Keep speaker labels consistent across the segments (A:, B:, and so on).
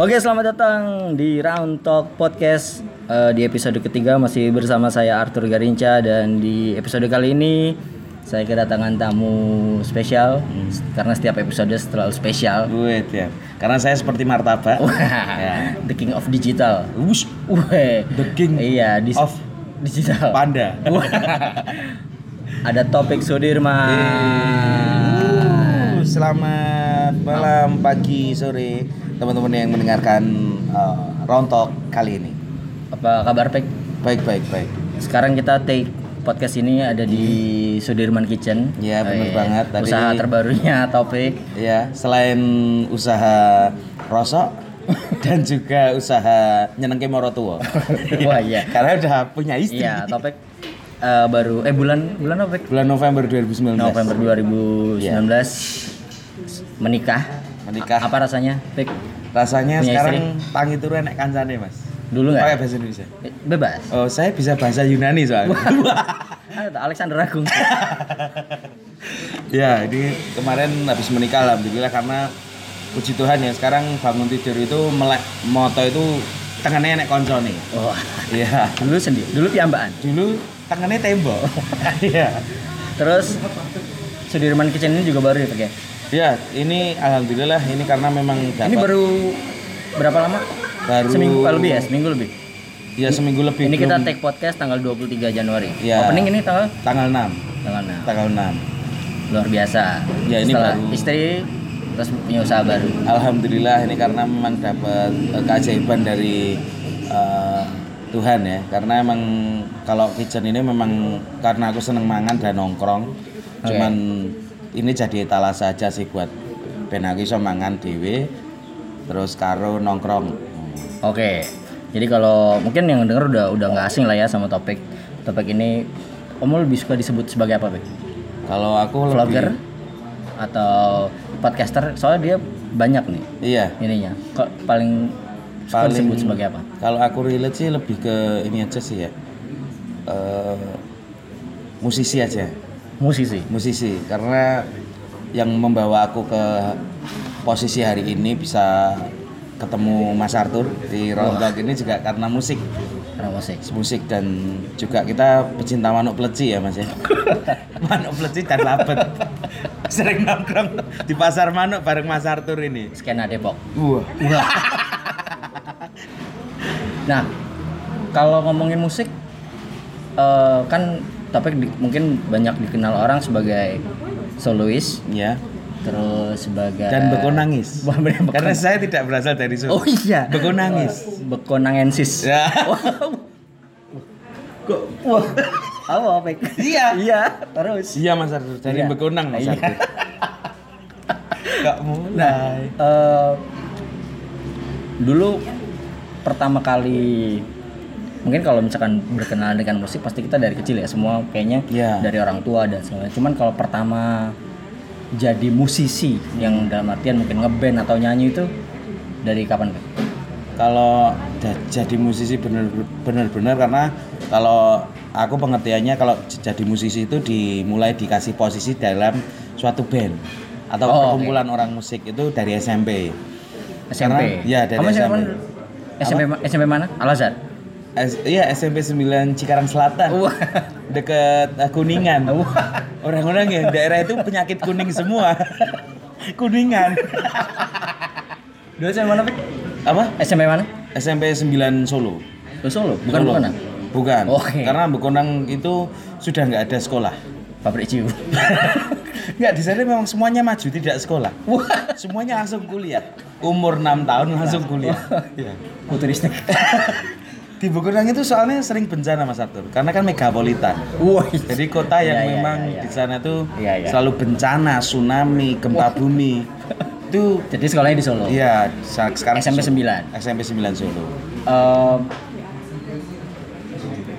A: Oke, selamat datang di Round Talk Podcast. Eh, di episode ketiga masih bersama saya Arthur Garinca dan di episode kali ini saya kedatangan tamu spesial karena setiap episode selalu spesial.
B: Gue tiap. Karena saya seperti martabak. ya.
A: The King of Digital.
B: Wush,
A: Weh.
B: The King
A: iya, di
B: of
A: digital.
B: panda.
A: Wah. Ada topik
B: Ah.
A: Sudirman.
B: Uh, Selamat malam, pagi, sore, teman-teman yang mendengarkan uh, rontok kali ini.
A: Apa kabar Pek?
B: Baik, baik, baik.
A: Sekarang kita take podcast ini ada di Sudirman Kitchen.
B: Iya, bener
A: Eh,
B: banget. Tadi-
A: Usaha terbarunya topik.
B: Ya, selain usaha rosok dan juga usaha nyenengke moro tua.
A: Wah iya.
B: Ya, Karena udah punya istri.
A: Iya, topik eh, baru eh bulan bulan apa Pek?
B: Bulan November 2019.
A: November 2019 menikah.
B: Iya. Menikah.
A: A- apa rasanya? Pek?
B: Rasanya
A: Punya
B: sekarang tangi turu enak kancane, Mas.
A: Dulu
B: Pakai
A: nggak?
B: bahasa Indonesia.
A: Eh, Bebas.
B: Oh, saya bisa bahasa Yunani soalnya.
A: Ada Alexander Agung.
B: ya, ini kemarin habis menikah alhamdulillah karena puji Tuhan ya sekarang bangun tidur itu melek moto itu tengennya enek konco nih.
A: Wah,
B: Iya.
A: Oh, dulu sendiri, dulu piambaan.
B: Dulu tengennya tembok. Iya.
A: Terus Sudirman Kitchen ini juga baru ya, Pak ya?
B: ya, ini alhamdulillah ini karena memang dapat
A: Ini baru berapa lama?
B: baru-
A: Seminggu ah, lebih ya, seminggu lebih.
B: ya seminggu lebih.
A: Ini kita
B: belum-
A: take podcast tanggal 23 Januari.
B: Iya.
A: Opening ini tanggal
B: tanggal 6.
A: tanggal enam.
B: Tanggal 6.
A: Luar biasa.
B: Ya, ini
A: Setelah
B: baru-
A: istri terus punya usaha baru.
B: Alhamdulillah ini karena memang dapat eh, keajaiban dari eh, Tuhan ya karena emang kalau kitchen ini memang karena aku seneng mangan dan nongkrong
A: Oke.
B: cuman ini jadi etalase aja sih buat ben aku iso mangan dhewe terus karo nongkrong
A: Oke. Jadi kalau mungkin yang denger udah udah nggak asing lah ya sama topik. Topik ini kamu lebih suka disebut sebagai apa, Bek?
B: kalau aku
A: Vlogger
B: lebih
A: atau podcaster? Soalnya dia banyak nih
B: iya
A: ininya. Kok paling suka
B: Paling-
A: disebut Kan sebagai apa?
B: kalau aku relate sih lebih ke ini aja sih ya Eh, musisi aja
A: Musisi.
B: musisi karena yang membawa aku ke posisi hari ini bisa ketemu Mas Arthur di Rontok ini juga karena musik
A: Karena musik.
B: musik dan juga kita pecinta manuk pleci ya Mas ya manuk pleci dan labet sering nongkrong di pasar manuk bareng Mas Arthur ini
A: Skena Depok.
B: wah
A: Nah, kalau ngomongin musik, eh, kan topik di- mungkin banyak dikenal orang sebagai solois,
B: ya
A: terus sebagai
B: dan beko nangis
A: Wah, bener, beko
B: karena saya tidak berasal dari Solo
A: Oh iya,
B: beko nangis
A: bekonangensis.
B: Ya.
A: Kok wah. Apa Pek?
B: Iya.
A: Iya, terus.
B: iya Mas Arthur dari
A: Iya.
B: bekonang Mas
A: Iya.
B: Arthur Gak mulai
A: Eh, dulu pertama kali mungkin kalau misalkan berkenalan dengan musik pasti kita dari kecil ya semua kayaknya
B: Iya.
A: dari orang tua dan segala macam. cuman kalau pertama jadi musisi yang dalam artian mungkin ngeband atau nyanyi itu dari kapan Pak?
B: kalau da- jadi musisi bener-bener karena kalau aku pengertiannya kalau j- jadi musisi itu dimulai dikasih posisi dalam suatu band atau
A: Oh, oke.
B: perkumpulan orang musik itu dari SMP.
A: SMP
B: Karena- iya, dari
A: kamu SMP
B: SMP.
A: mana? SMP, ma- SMP mana Al Azhar
B: S- iya SMP 9 Cikarang Selatan
A: Wah.
B: deket eh, Kuningan.
A: Wah.
B: Orang-orang ya daerah itu penyakit kuning semua. kuningan.
A: dulu SMP mana Pak?
B: Apa?
A: SMP mana
B: SMP 9 Solo.
A: Lu Solo bukan
B: Solo.
A: bukan ah?
B: Bukan.
A: Oke.
B: Karena Bekonang itu sudah nggak ada sekolah.
A: pabrik ciu
B: Enggak, di sana memang semuanya maju, tidak sekolah.
A: wah
B: Semuanya langsung kuliah. Umur 6 tahun langsung kuliah. Iya.
A: futuristik
B: Di Begonang itu soalnya sering bencana Mas Arthur, karena kan megapolitan.
A: wah
B: Jadi kota
A: Iya,
B: yang
A: iya,
B: memang
A: iya, iya.
B: di sana tuh
A: Iya, iya.
B: selalu bencana, tsunami, gempa bumi. Itu
A: jadi sekolahnya di Solo
B: iya, sa- sekarang
A: SMP 9
B: SMP 9 Solo.
A: Eh,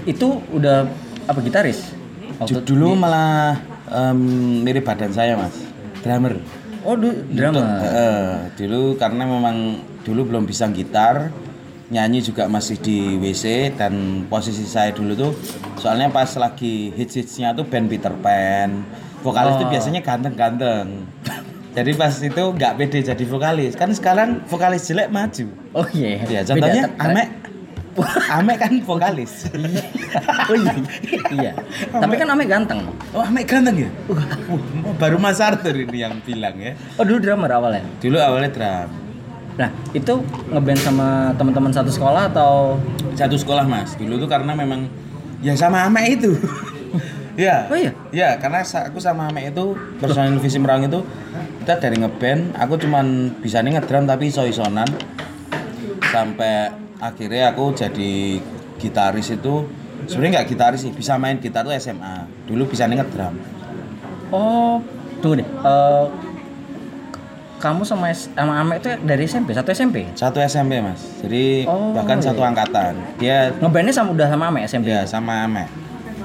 A: itu udah apa gitaris? Waktu-
B: Dulu malah em, mirip badan saya, Mas. Drummer.
A: Oh, du-
B: Iya,
A: drama.
B: Heeh, dulu karena memang dulu belum bisa gitar, nyanyi juga masih di WC dan posisi saya dulu tuh soalnya pas
A: Oh.
B: lagi hits-hitsnya tuh band Peter Pan, vokalis tuh biasanya ganteng-ganteng. Jadi pas itu nggak pede jadi vokalis. Kan sekarang vokalis jelek maju.
A: Oh iya. Beda
B: Ya, contohnya
A: tra-
B: Amek. Amek kan vokalis.
A: Oh iya. iya. Tapi kan Ame ganteng.
B: Oh, Amek ganteng ya? Wah, baru Mas Arthur ini yang bilang ya.
A: Oh dulu drummer awalnya.
B: Dulu awalnya drum.
A: Nah itu ngeband sama teman-teman satu sekolah atau?
B: Satu sekolah, Mas. Dulu tuh karena memang ya sama Amek itu. ya.
A: Oh iya?
B: Ya, karena sa- aku sama Amek itu personil visi merang itu kita dari ngeband, aku cuman bisa nih ngedrum tapi iso-isonan. Sampai akhirnya aku jadi gitaris itu sebenarnya nggak gitaris sih, bisa main gitar tuh SMA. Dulu bisa nih ngedrum.
A: Oh tunggu deh. Eh, kamu sama S- sama Ame itu dari SMP satu SMP.
B: Satu SMP, Mas. Jadi
A: Oh,
B: bahkan
A: iya.
B: satu angkatan. Dia
A: Ngebandnya sama udah sama Ame SMP.
B: ya sama Amek.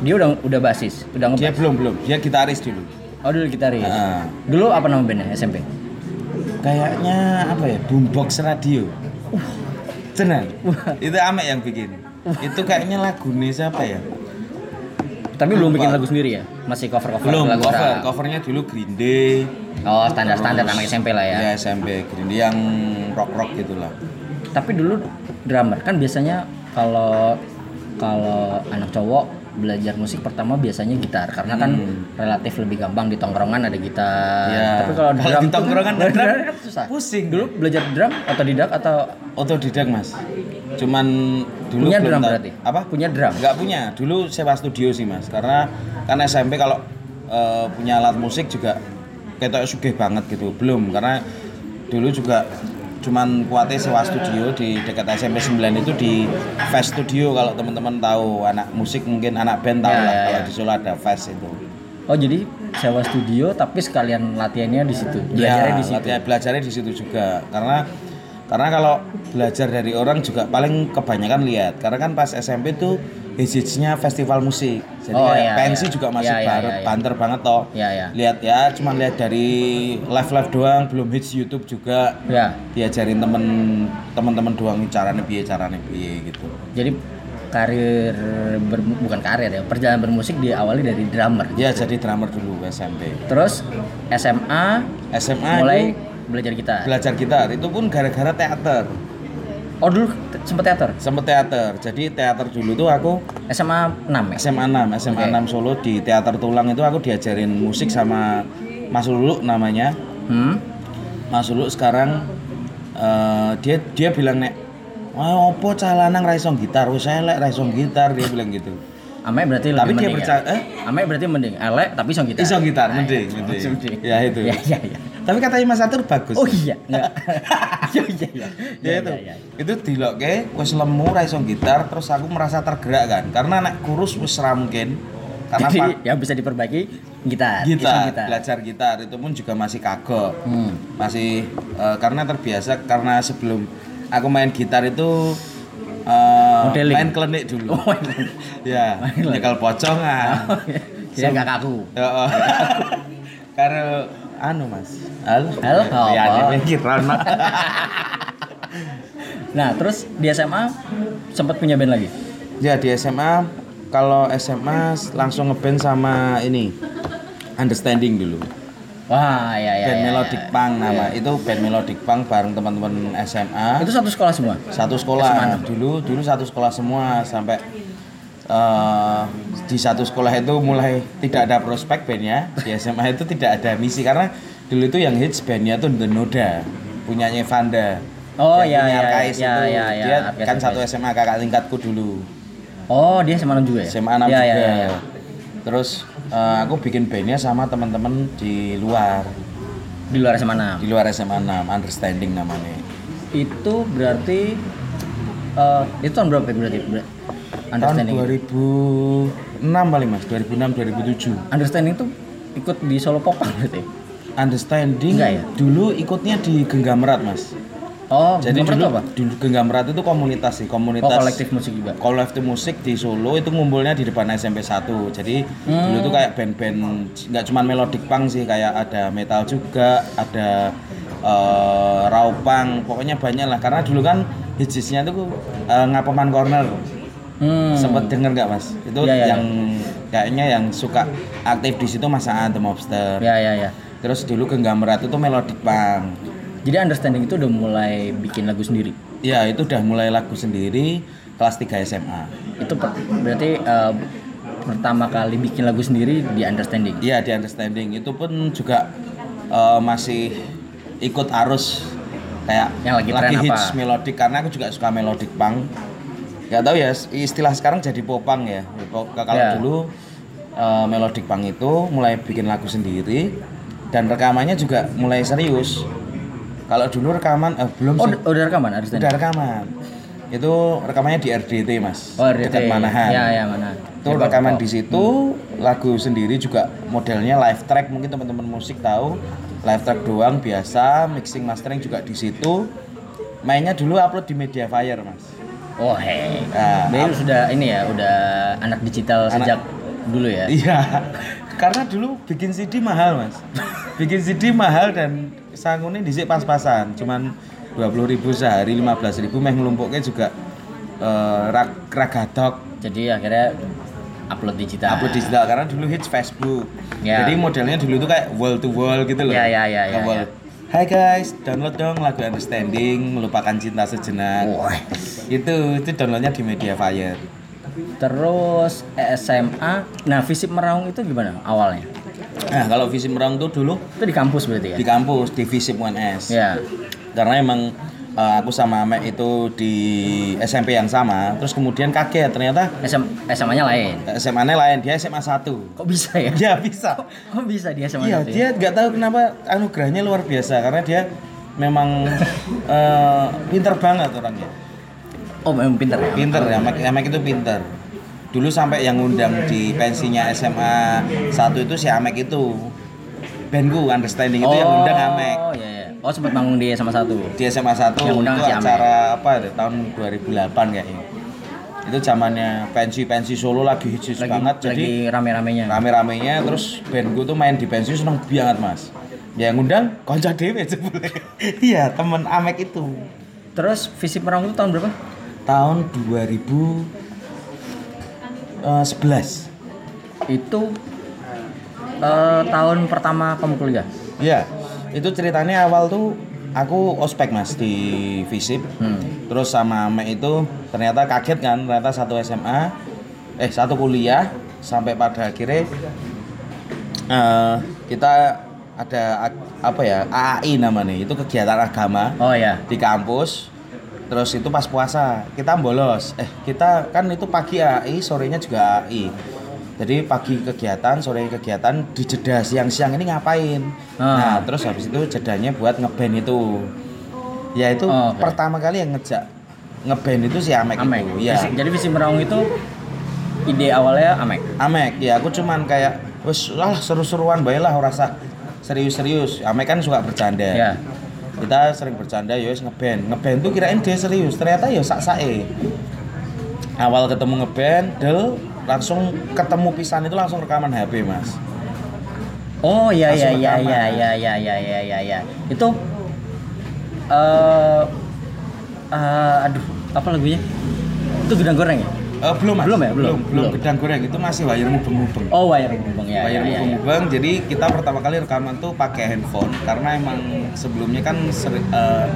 A: Dia udah udah basis, udah
B: Dia
A: ngeband.
B: belum belum, dia gitaris dulu.
A: Oh dulu gitaris.
B: Heeh.
A: Dulu apa nama bandnya SMP?
B: kayaknya apa ya boombox radio Uh, tenan itu Amek yang bikin itu kayaknya lagu nih siapa ya
A: Tapi belum bikin
B: Lupa.
A: lagu sendiri ya? Masih cover cover
B: belum
A: lagu
B: cover
A: orang.
B: covernya dulu Green Day
A: Oh standar standar
B: terus-
A: anak SMP lah ya.
B: Iya, SMP Green Day yang rock rock gitulah
A: Tapi dulu drummer kan biasanya kalau kalau anak cowok belajar musik pertama biasanya gitar karena kan relatif lebih gampang di tongkrongan ada gitar.
B: Hmm. Iya.
A: Ah. Tapi kalau
B: Kalau
A: drum
B: di tongkrongan ada drum,
A: kan susah.
B: pusing.
A: Dulu belajar drum otodidak atau
B: otodidak mas cuman dulu
A: punya
B: belum
A: drum
B: tahu-
A: berarti?
B: apa
A: Punya drum.
B: nggak punya dulu sewa studio sih mas karena karena SMP kalau eh, punya alat musik juga kayak sugih banget gitu belum karena dulu juga cuman kuatnya sewa studio di dekat SMP 9 itu di Fest Studio kalau teman-teman tahu anak musik mungkin anak band tahu
A: Ya,
B: lah
A: ya,
B: kalau
A: ya.
B: di Solo ada Fest itu
A: Oh jadi sewa studio tapi sekalian latihannya di situ. Belajarnya
B: ya,
A: di situ.
B: latihan- belajarnya di situ juga karena karena kalau belajar dari orang juga paling kebanyakan lihat karena kan pas SMP tuh hits-hitsnya festival musik jadi
A: Oh,
B: kayak
A: iya,
B: pensi
A: iya.
B: juga masih
A: Iya, iya,
B: baru-
A: iya, iya.
B: banter banget toh
A: Iya, iya.
B: lihat ya cuma lihat dari live live doang belum hits YouTube juga
A: Ya.
B: diajarin temen teman-teman doang caranya piye caranya piye gitu
A: Jadi karir ber- bukan karir ya, perjalanan bermusik diawali dari drummer.
B: ya jadi drummer dulu SMP
A: Terus SMA
B: SMA
A: mulai
B: itu
A: belajar gitar.
B: belajar gitar itu pun gara-gara teater
A: Oh dulu te- sempet teater.
B: sempet teater jadi teater dulu tuh aku
A: SMA 6 ya.
B: SMA 6, SMA
A: Oke.
B: 6 Solo di Teater Tulang itu aku diajarin musik sama Mas Lulu namanya.
A: Hmm.
B: Mas Lulu sekarang eh, dia dia bilang nek, "Wah, opo cah lanang ra iso gitar, wis elek ra iso gitar." Dia bilang gitu.
A: Ame berarti
B: Tapi
A: lebih
B: dia
A: mending.
B: percaya,
A: ya?
B: eh?
A: Ame berarti mending elek tapi iso gitar.
B: Iso gitar,
A: Nah,
B: mending,
A: iya.
B: mending.
A: Iso mending.
B: Ya, itu.
A: Ya ya ya.
B: Tapi katanya Mas Atur bagus.
A: Oh iya, enggak. Iya iya iya.
B: ya, itu.
A: iya, iya.
B: Itu dilokke wis lemu ra iso gitar, terus aku merasa tergerak kan. Karena nek kurus wis ra mungkin. Karena
A: Jadi
B: apa?
A: yang bisa diperbaiki gitar, iso
B: gitar, belajar gitar itu pun juga masih kagok
A: Hmm.
B: masih eh, karena terbiasa karena sebelum aku main gitar itu eh,
A: Modeling. Oh.
B: main klinik dulu
A: iya.
B: ya nyekel pocongan
A: Dia enggak kaku.
B: Ya, oh. karo anu mas hal
A: Hal
B: ya
A: apa?
B: ini kira Mas.
A: Nah, terus di SMA sempat punya band lagi.
B: ya di SMA kalau SMA langsung ngeband sama ini understanding dulu
A: Wah, ya ya. ya,
B: band
A: ya.
B: melodic punk nama itu band melodic punk bareng teman-teman SMA
A: iya. Itu satu sekolah semua.
B: satu sekolah dulu dulu satu sekolah semua sampai eh, di satu sekolah itu mulai tidak ada prospek bandnya di SMA itu tidak ada misi karena dulu itu yang hits bandnya tuh The Noda punyanya Vanda
A: Oh,
B: Yang
A: ya,
B: punya
A: ya, ya,
B: Arkais itu.
A: ya, ya,
B: dia
A: Arkais,
B: kan
A: Arkais.
B: satu SMA kakak tingkatku dulu
A: Oh, dia SMA 6 juga ya?
B: SMA
A: ya,
B: 6 juga
A: Ya, ya, ya.
B: terus eh, aku bikin bandnya sama teman-teman di luar
A: Di luar SMA 6.
B: di luar SMA 6 Understanding namanya
A: Itu berarti eh itu tahun berapa ya berarti? Ber-
B: tahun
A: Understanding.
B: 2006 paling mas 2006 2007
A: Understanding itu ikut di Solo Popang berarti.
B: Understanding
A: Enggak ya?
B: dulu ikutnya di Genggamrat mas.
A: Oh,
B: Jadi
A: nomor
B: dulu
A: itu apa?
B: dulu Genggamrat itu komunitas sih
A: Oh,
B: komunitas.
A: kolektif musik juga.
B: kolektif musik di Solo itu ngumpulnya di depan SMP 1 jadi
A: Hmm.
B: dulu tuh kayak band-band nggak cuma melodic punk sih kayak ada metal juga ada eh, raw punk pokoknya banyak lah karena dulu kan hitsnya tuh eh, ngapeman corner
A: Hmm.
B: sempet denger nggak mas itu
A: Iya, iya,
B: yang kayaknya yang suka aktif di situ mas Aan The Mobster
A: Ya, ya, ya.
B: terus dulu genggam erat itu melodic punk
A: Jadi understanding itu udah mulai bikin lagu sendiri.
B: ya itu udah mulai lagu sendiri kelas 3 SMA
A: Itu per- berarti eh, pertama kali bikin lagu sendiri di understanding.
B: Iya di understanding itu pun juga eh, masih ikut arus kayak
A: Yang lagi tren
B: hits
A: apa?
B: melodic karena aku juga suka melodic punk. Gak tahu ya istilah sekarang jadi popang ya. Pop- Kalau
A: Ya.
B: dulu eh, melodic punk itu mulai bikin lagu sendiri dan rekamannya juga mulai serius. Kalau dulu rekaman eh, belum
A: Oh,
B: sih.
A: d- udah rekaman understanding.
B: Udah rekaman. Itu rekamannya di RDT mas.
A: Oh, RDT.
B: Dekat Manahan
A: Ya, ya, Manahan. Oh.
B: itu rekaman di situ lagu sendiri juga modelnya live track mungkin teman-teman musik tahu live track doang biasa mixing mastering juga di situ mainnya dulu upload di media fire mas
A: Oh, hei.
B: Nah,
A: Bayu sudah ini ya, udah anak digital sejak dulu ya.
B: iya karena dulu bikin CD mahal mas bikin CD mahal dan sanggungnya dhisik pas-pasan cuman 20.000 sehari 15.000 meh ngelumpuknya juga eh, rak ragadok
A: Jadi akhirnya upload digital.
B: Nah, upload digital karena dulu hits Facebook.
A: Ya.
B: Jadi modelnya dulu tuh kayak wall to wall gitu loh.
A: Ya, ya, ya,
B: Ke
A: ya,
B: wall.
A: ya.
B: Hai guys, download dong lagu Understanding melupakan cinta sejenak. Gitu,
A: Wah.
B: Itu itu downloadnya di Media Fire.
A: Terus eh, SMA. Nah, Visip Meraung itu gimana awalnya?
B: Nah, kalau visi merang tuh dulu
A: Itu di kampus berarti ya?
B: di kampus di Visip 1S.
A: Iya.
B: Karena emang eh, aku sama Mek itu di SMP yang sama, terus kemudian kaget ternyata eh,
A: SM, SMA-nya lain.
B: SMA-nya lain, dia SMA 1.
A: Kok bisa ya?
B: Ya bisa.
A: Kok bisa dia SMA
B: Iya,
A: satu
B: dia
A: ya?
B: nggak tahu kenapa anugerahnya luar biasa karena dia memang eh, pinter banget orangnya.
A: Oh, memang pinter ya?
B: Pinter ya, Mac, ya, Mac itu pinter. Dulu sampai yang ngundang di pensinya SMA 1 itu si Amek itu. Bandku understanding itu yang ngundang Amek.
A: Oh, iya, iya. Oh, sempat manggung dia sama satu.
B: Di SMA 1
A: Yang ngundang
B: itu
A: si Amek.
B: acara apa ya, tahun 2008 kayaknya. Itu zamannya pensi-pensi Solo lagi hits
A: Lagi,
B: banget jadi
A: lagi rame-ramenya.
B: rame-ramenya terus band gue tuh main di pensi seneng banget mas ya ngundang konco dewe jebule. iya temen Amek itu
A: Terus Visip Meraung itu tahun berapa?
B: tahun eh, 2011
A: Itu eh, tahun pertama kamu kuliah.
B: Iya, itu ceritanya awal tuh aku ospek mas di Visip, terus sama Ame itu ternyata kaget kan, ternyata satu SMA, eh satu kuliah, sampai pada akhirnya eh, kita ada ag- apa ya AAI namanya, itu kegiatan agama
A: Oh ya.
B: di kampus, terus itu pas puasa kita bolos, eh kita kan itu pagi AAI, sorenya juga AAI. Jadi pagi kegiatan, sore kegiatan, di jeda siang-siang ini ngapain?
A: Ah.
B: Nah, terus habis itu jedanya buat ngeband itu. Ya itu
A: Oh, oke.
B: pertama kali yang ngejak ngeband itu si Amek,
A: Amek.
B: itu. Ya.
A: Visi- Jadi Visip Meraung itu ide awalnya Amek.
B: Amek, ya aku cuman kayak wes lah seru-seruan bae lah ora usah serius-serius. Amek kan suka bercanda.
A: Ya.
B: Kita sering bercanda ya wes ngeband. Ngeband tuh kirain dia serius, ternyata ya sak-sake. Awal ketemu ngeband, del langsung ketemu pisan itu langsung rekaman HP, Mas.
A: Oh ya ya
B: Langsung
A: ya
B: rekaman.
A: ya ya ya ya ya ya ya. Itu eh eh, aduh, apa lagunya? Itu gedang goreng ya?
B: Eh, belum, Mas.
A: Belum ya? Belum.
B: belum, belum.
A: Belum.
B: Gedang goreng itu masih wayang mubeng-mubeng.
A: Oh, wayang Bang ya. ya,
B: Bayar
A: ya, ya.
B: mubeng-mubeng, jadi kita pertama kali rekaman tuh pakai handphone karena emang sebelumnya kan seri- eh,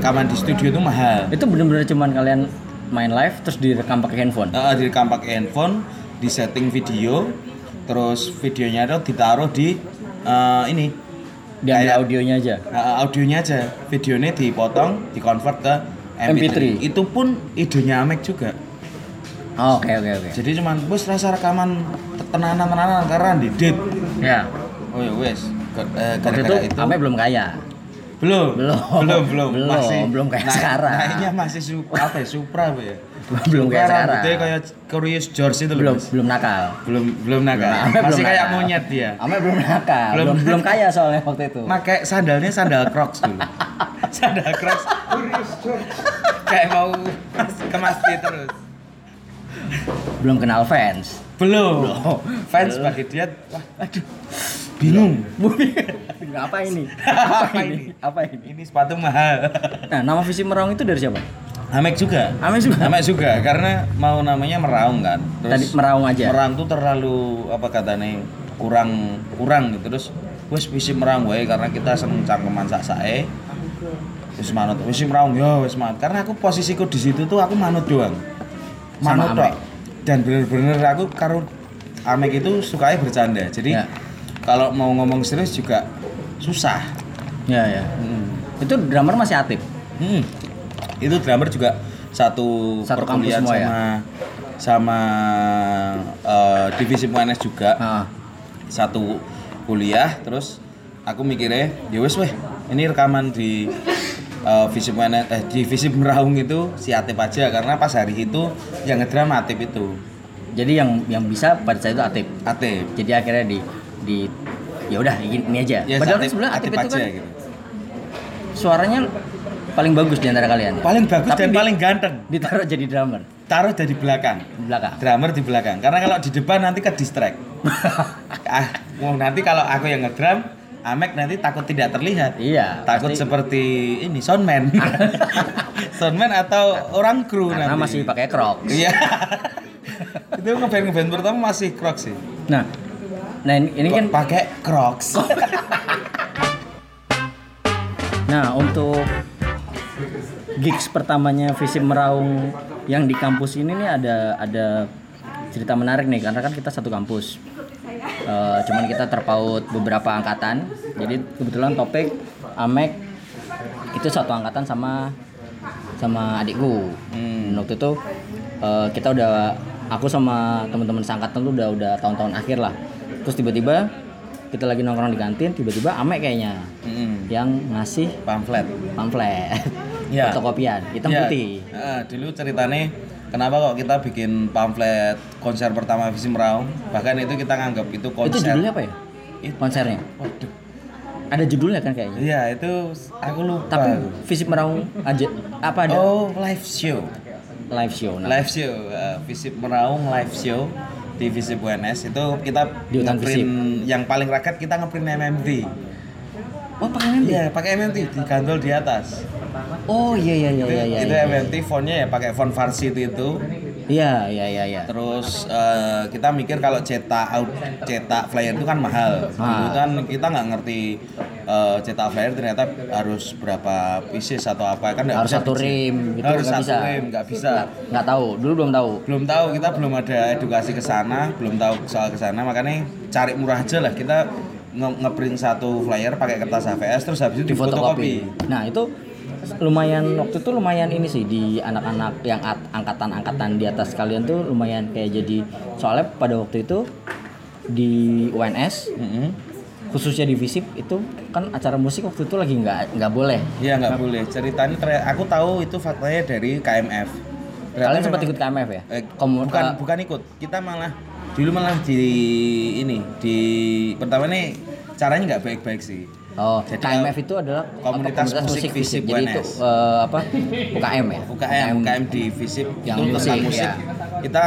B: rekaman di studio itu mahal.
A: Itu benar-benar cuman kalian main live terus direkam pakai handphone.
B: Eh, direkam pakai handphone, di setting video, terus videonya itu ditaruh di eh, ini
A: Diambil
B: kayak-
A: audionya aja.
B: eh, audionya aja, videonya dipotong, dikonvert ke MP3.
A: MP3.
B: Itu pun idenya Amek juga.
A: Oh, Oke oke oke.
B: Jadi cuman wes rasa rekaman tenanan-tenanan karena di date.
A: Ya.
B: Oh ya wes. Ke- eh,
A: Waktu
B: Gara-gara
A: itu,
B: itu,
A: Amek belum kaya.
B: belum
A: Belum.
B: belum belum
A: Belum, belum kayak
B: naik-
A: sekarang.
B: naiknya masih su apa ya supra apa ya
A: Belum kayak
B: Supra,
A: sekarang.
B: rambutnya kayak Curious George itu loh,
A: Belum
B: Mas.
A: belum nakal.
B: belum belum naga
A: Nah, Amek
B: masih
A: belum
B: kayak
A: nakal.
B: monyet dia
A: Amek belum nakal.
B: Belum
A: Belum belum,
B: nakal.
A: kaya soalnya waktu itu.
B: pakai sandalnya sandal Crocs dulu sandal Crocs kayak mau mas- ke masjid terus
A: belum kenal fans.
B: belum fans bagi dia wah aduh bingung
A: apa ini? Apa
B: Apa
A: ini?
B: ini?
A: Apa ini?
B: ini sepatu mahal
A: Nah, nama visi meraung itu dari siapa?
B: Amek juga
A: Amek juga.
B: Amek juga karena mau namanya meraung kan
A: Tadi meraung aja.
B: Merang tuh terlalu apa katanya kurang kurang gitu terus wis wis merang wae karena kita seneng cangkeman sak sae wis manut wis merang ya wis manut karena aku posisiku di situ tuh aku manut doang
A: Sama
B: manut
A: Amek.
B: tok dan bener-bener aku karo Amek itu sukanya bercanda jadi
A: Ya.
B: kalau mau ngomong serius juga susah
A: Ya ya. Itu drummer masih aktif.
B: Hmm. Itu drummer juga satu,
A: Satu kampus
B: perkuliahan
A: semua ya?
B: sama sama eh, divisi UNS juga.
A: Ah,
B: Satu kuliah terus aku mikirnya ya wes weh ini rekaman di eh, divisi UNS eh divisi Meraung itu si Atip aja karena pas hari itu yang ngedrum Atip itu.
A: Jadi yang yang bisa pada saat itu aktif.
B: Atip.
A: Jadi akhirnya di di ya udah ini aja.
B: Ya,
A: Padahal kan
B: Atip-
A: sebenarnya aktif, itu
B: aja
A: kan
B: gitu.
A: suaranya paling bagus di antara kalian. ya?
B: Paling bagus
A: Tapi
B: dan
A: di-
B: paling ganteng.
A: ditaruh jadi drummer
B: Taruh dari belakang.
A: di belakang.
B: drummer di belakang karena kalau di depan nanti ke distract ah mau nanti kalau aku yang ngedrum Amek nanti takut tidak terlihat
A: Iya,
B: takut
A: pasti.
B: seperti ini soundman soundman atau orang kru
A: Karena
B: nanti
A: masih pakai crocs.
B: iya itu ngeband ngeband pertama masih crocs sih
A: Nah, nah ini, ini kan
B: Kok pakai crocs
A: Nah, untuk gigs pertamanya Visi Meraung yang di kampus ini nih ada ada cerita menarik nih karena kan kita satu kampus. Eh, cuman kita terpaut beberapa angkatan. Jadi kebetulan topik Amek itu satu angkatan sama sama adikku. Dan Waktu itu eh, kita udah aku sama teman-teman seangkatan tuh udah udah tahun-tahun akhir lah. Terus tiba-tiba kita lagi nongkrong di kantin, tiba-tiba Amek kayaknya
B: Mm,
A: yang ngasih
B: pamflet
A: pamflet
B: Ya.
A: fotokopian hitam
B: Iya.
A: putih
B: Heeh, dulu ceritanya kenapa kok kita bikin pamflet konser pertama Visi Meraung bahkan itu kita nganggap itu
A: itu
B: konser
A: judulnya apa ya
B: Itu.
A: konsernya
B: Waduh.
A: ada judulnya kan kayaknya
B: Iya itu s- aku lupa.
A: tapi fisik meraung aja apa ada
B: oh live show,
A: live show nah
B: live show, eh, visip meraung live show di Visip UNS itu kita
A: Di hutan
B: ngeprint yang paling rakyat kita ngeprint MMT.
A: oh pakai MMT
B: Iya pakai MMT digantol di atas.
A: oh iya iya iya
B: Itu,
A: iya iya
B: itu
A: iya.
B: MMT fontnya ya pakai font Varsity itu.
A: iya iya iya iya
B: Terus eh, kita mikir kalau cetak out- cetak flyer itu kan mahal. Dulu
A: Ah.
B: kan kita nggak ngerti eh, cetak flyer ternyata harus berapa pieces atau apa kan nggak
A: harus
B: bisa
A: satu
B: kecil.
A: rim gitu
B: harus
A: nggak
B: satu
A: bisa
B: rim nggak bisa
A: Nggak- nggak tahu dulu belum tahu
B: belum tahu kita belum ada edukasi ke sana belum tahu soal ke sana makanya cari murah aja lah kita nge- ngeprint satu flyer pakai kertas HVS terus habis itu
A: di fotokopi
B: difotokopi
A: nah itu lumayan waktu itu lumayan ini sih di anak-anak yang at- angkatan-angkatan di atas kalian tuh lumayan kayak jadi soalnya pada waktu itu di UNS
B: Mm-mm.
A: khususnya di Visip itu kan acara musik waktu itu lagi nggak nggak boleh.
B: iya nggak boleh ceritanya ternyata- aku tahu itu faktanya dari KMF Ternyata
A: Kalian sempat
B: memang-
A: ikut KMF ya?
B: eh,
A: Komu-
B: bukan
A: eh,
B: bukan ikut kita malah dulu malah di ini di pertama nih caranya nggak baik-baik sih
A: Oh,
B: Jadi,
A: KMF itu adalah apa,
B: komunitas musik Visip
A: Jadi itu
B: UNS.
A: eh, apa? UKM ya?
B: UKM, UKM di Visip
A: Yang
B: itu tentang
A: musik,
B: musik.
A: ya.
B: Kita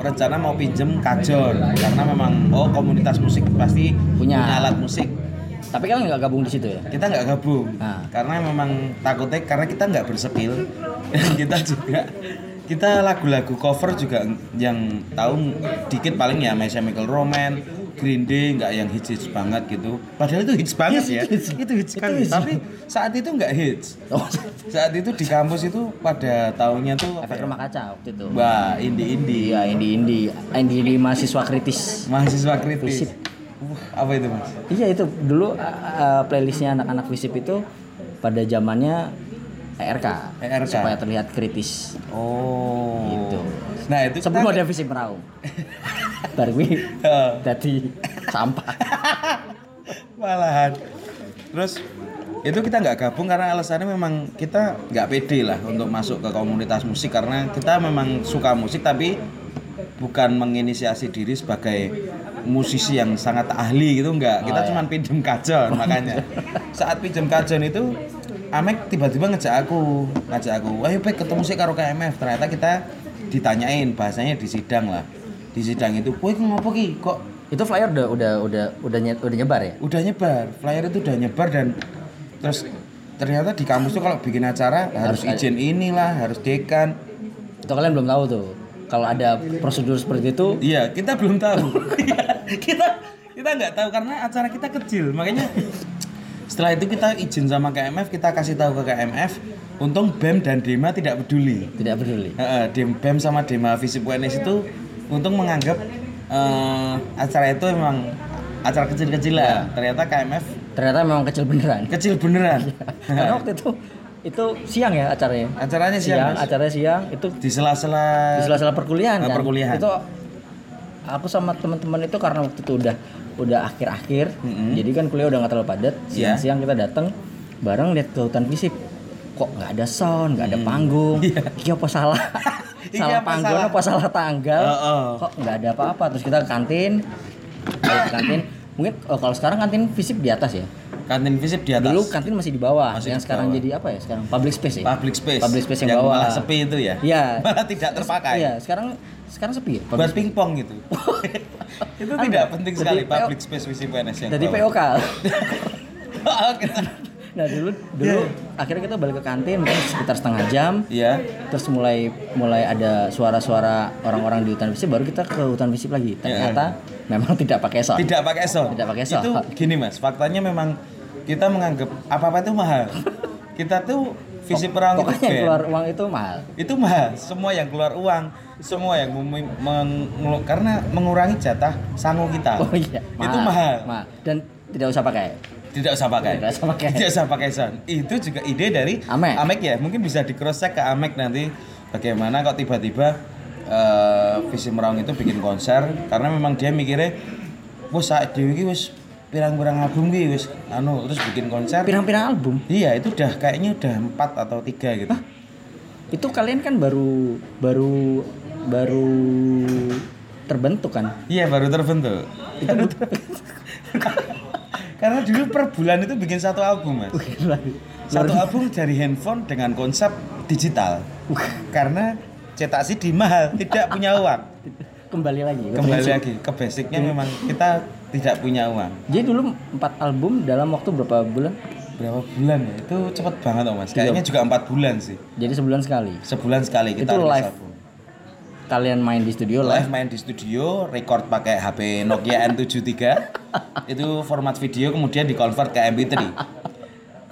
B: rencana mau pinjem kajor karena memang oh komunitas musik pasti
A: Punya.
B: punya, alat musik.
A: Tapi kalian nggak gabung di situ ya?
B: Kita nggak gabung
A: Nah.
B: karena memang takutnya karena kita nggak bersekil. kita juga kita lagu-lagu cover juga yang tahu dikit paling ya My Chemical Romance, Green Day nggak yang hits hits banget gitu. Padahal itu hits banget ya. Itu hits sekali. Tapi saat itu nggak hits.
A: Oh,
B: Saat itu di kampus itu pada tahunnya tuh apa
A: efek
B: ya?
A: rumah kaca waktu itu.
B: Wah, indie-indie
A: Iya, Indi Indi, Indi Indi mahasiswa kritis.
B: mahasiswa
A: Fisip.
B: kritis. Wah, apa itu mas?
A: Iya itu dulu eh, eh, playlistnya anak-anak Visip itu pada zamannya ERK,
B: ERK.
A: supaya terlihat kritis.
B: Oh,
A: Gitu.
B: Nah itu
A: Sebelum ada
B: kita-
A: Visip Meraung. Baru ini
B: Eh,
A: jadi sampah.
B: malahan. Terus itu kita nggak gabung karena alasannya memang kita nggak pede lah untuk masuk ke komunitas musik karena kita memang suka musik tapi bukan menginisiasi diri sebagai musisi yang sangat ahli gitu nggak kita
A: Oh, iya.
B: cuman pinjem kajon makanya saat pinjem kajon itu Amek tiba-tiba ngejak aku ngajak aku ayo Pek ketemu sih karo KMF ternyata kita ditanyain bahasanya di sidang lah di sidang itu kue ngopo ki kok
A: Itu flyer udah udah udah udah, nye- udah nyebar ya?
B: udah nyebar flyer itu udah nyebar dan terus ternyata di kampus tuh kalau bikin acara
A: Harus
B: harus,
A: ada.
B: izin inilah harus dekan
A: Itu kalian belum tahu tuh. Kalau ada prosedur seperti itu,
B: iya kita belum tahu kita kita nggak tahu karena acara kita kecil makanya setelah itu kita izin sama KMF kita kasih tahu ke KMF untung BEM dan Dema tidak peduli
A: Tidak peduli.
B: Heeh, E Dem- BEM sama Dema Visip UNS itu untung menganggap eh, acara itu memang acara kecil-kecil lah. Ternyata KMF
A: Ternyata memang kecil beneran.
B: kecil beneran.
A: Karena waktu itu itu siang ya acaranya.
B: Acaranya
A: Siang,
B: siang, Mas.
A: acaranya siang itu
B: di sela-sela
A: di sela-sela perkuliahan
B: Ah,
A: kan?
B: perkuliahan.
A: itu aku sama teman-teman itu karena waktu itu udah udah akhir-akhir jadi kan kuliah udah nggak terlalu padat
B: Iya.
A: siang-siang kita datang bareng lihat ke hutan fisip kok nggak ada sound nggak ada panggung iya apa salah
B: Mm. Iki
A: salah
B: apa
A: panggung
B: salah? Oh,
A: apa salah tanggal
B: Heeh.
A: kok nggak ada apa-apa terus kita ke kantin Balik ke kantin mungkin oh, kalau sekarang kantin fisip di atas ya
B: kantin visip di atas
A: dulu kan- kantin masih di bawah yang
B: Masih di
A: sekarang
B: bawah.
A: jadi apa ya sekarang public space ya
B: public space
A: public space yang, bawah
B: malah sepi itu ya
A: Iya.
B: malah tidak terpakai
A: Iya, sekarang sekarang sepi ya.
B: buat pingpong gitu itu
A: Anu,
B: tidak penting
A: jadi
B: sekali
A: PO
B: public space visip UNS yang
A: Jadi
B: bawah. Oh,
A: POK.
B: Oke.
A: Nah, dulu dulu akhirnya kita balik ke kantin mungkin sekitar setengah jam.
B: Iya.
A: Terus mulai mulai ada suara-suara orang-orang di hutan visip baru kita ke hutan visip lagi. Ternyata memang tidak pakai sound.
B: Iya. Tidak pakai sound.
A: Tidak pakai sound.
B: Itu gini mas, faktanya memang kita menganggap apa-apa itu mahal. kita tuh visi perang itu
A: Pokoknya yang
B: band.
A: keluar uang itu mahal.
B: Itu mahal. Semua yang keluar uang, semua yang mem- meng- karena mengurangi jatah sangu kita.
A: Oh iya,
B: Itu mahal.
A: mahal. Dan tidak usah pakai.
B: Tidak usah pakai.
A: Tidak usah pakai.
B: Tidak usah pakai sound. Itu juga ide dari
A: Iya. Amek.
B: ya. Mungkin bisa di cross check ke Amek nanti bagaimana kok tiba-tiba eh, visi Meraung itu bikin konser karena memang dia mikirnya wes saat dewi iki wis pirang-pirang album ki wis anu terus bikin konser.
A: Pirang-pirang album.
B: Iya, itu udah kayaknya udah empat atau tiga gitu.
A: Itu kalian kan baru baru baru terbentuk kan?
B: Iya, baru terbentuk.
A: Itu
B: Karena dulu per bulan itu bikin satu album, Mas. Satu album dari handphone dengan konsep digital. Karena cetak CD mahal, tidak punya uang.
A: kembali lagi. ke
B: Kembali
A: prinsip.
B: lagi ke basicnya memang kita tidak punya uang.
A: Jadi dulu empat album dalam waktu berapa bulan?
B: Berapa bulan ya? Itu cepet banget, oh, Mas. Kayaknya juga empat bulan sih.
A: Jadi sebulan sekali.
B: Sebulan sekali kita
A: Itu
B: rilis
A: live.
B: album.
A: Kalian main di studio live.
B: live main di studio, record pakai HP Nokia N73. itu format video kemudian di convert ke MP3.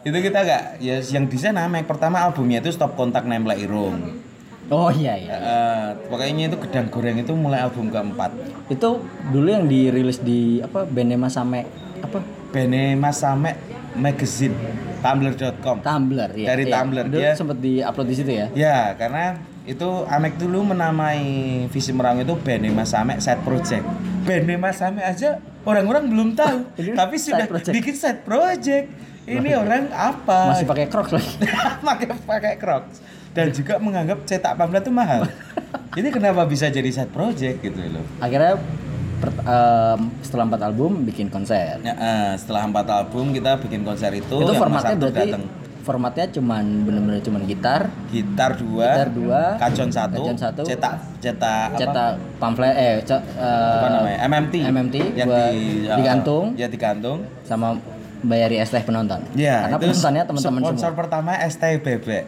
B: itu kita nggak ya yang di sana Mac pertama albumnya itu Stop Kontak Nemlek Irung.
A: Oh iya iya.
B: Eh, pokoknya itu gedang goreng itu mulai album keempat.
A: Itu dulu yang dirilis di apa bandnya Mas Same apa
B: Bene Mas Samek Magazine Tumblr.com.
A: Tumblr ya.
B: Dari
A: Iya.
B: Tumblr,
A: Dulu
B: dia-
A: sempet di-upload di situ ya.
B: Ya, karena itu Amek dulu menamai visi merang itu Bene Mas Amek Side Project. Bene Mas Amek aja orang-orang belum tahu,
A: Ini
B: tapi
A: side
B: sudah
A: project.
B: bikin Side Project. Ini orang apa?
A: Masih pakai Crocs lagi.
B: pakai pakai Crocs dan juga menganggap cetak pamflet itu mahal. Ini kenapa bisa jadi Side Project gitu loh.
A: Akhirnya per- em, setelah empat album bikin konser.
B: Ya, eh, setelah empat album kita bikin konser itu,
A: itu
B: yang Mas
A: formatnya
B: Arthur
A: berarti
B: datang.
A: formatnya cuman bener-bener cuman gitar,
B: gitar dua,
A: Gitar dua,
B: kacon satu,
A: kacon satu,
B: cetak cetak apa?
A: cetak pamflet eh ce- eh,
B: apa namanya MMT
A: MMT
B: yang
A: buat
B: di,
A: digantung.
B: ya digantung
A: sama bayari es teh penonton.
B: ya
A: Karena
B: itu
A: penontonnya teman-teman
B: sponsor
A: semua.
B: pertama ST Bebek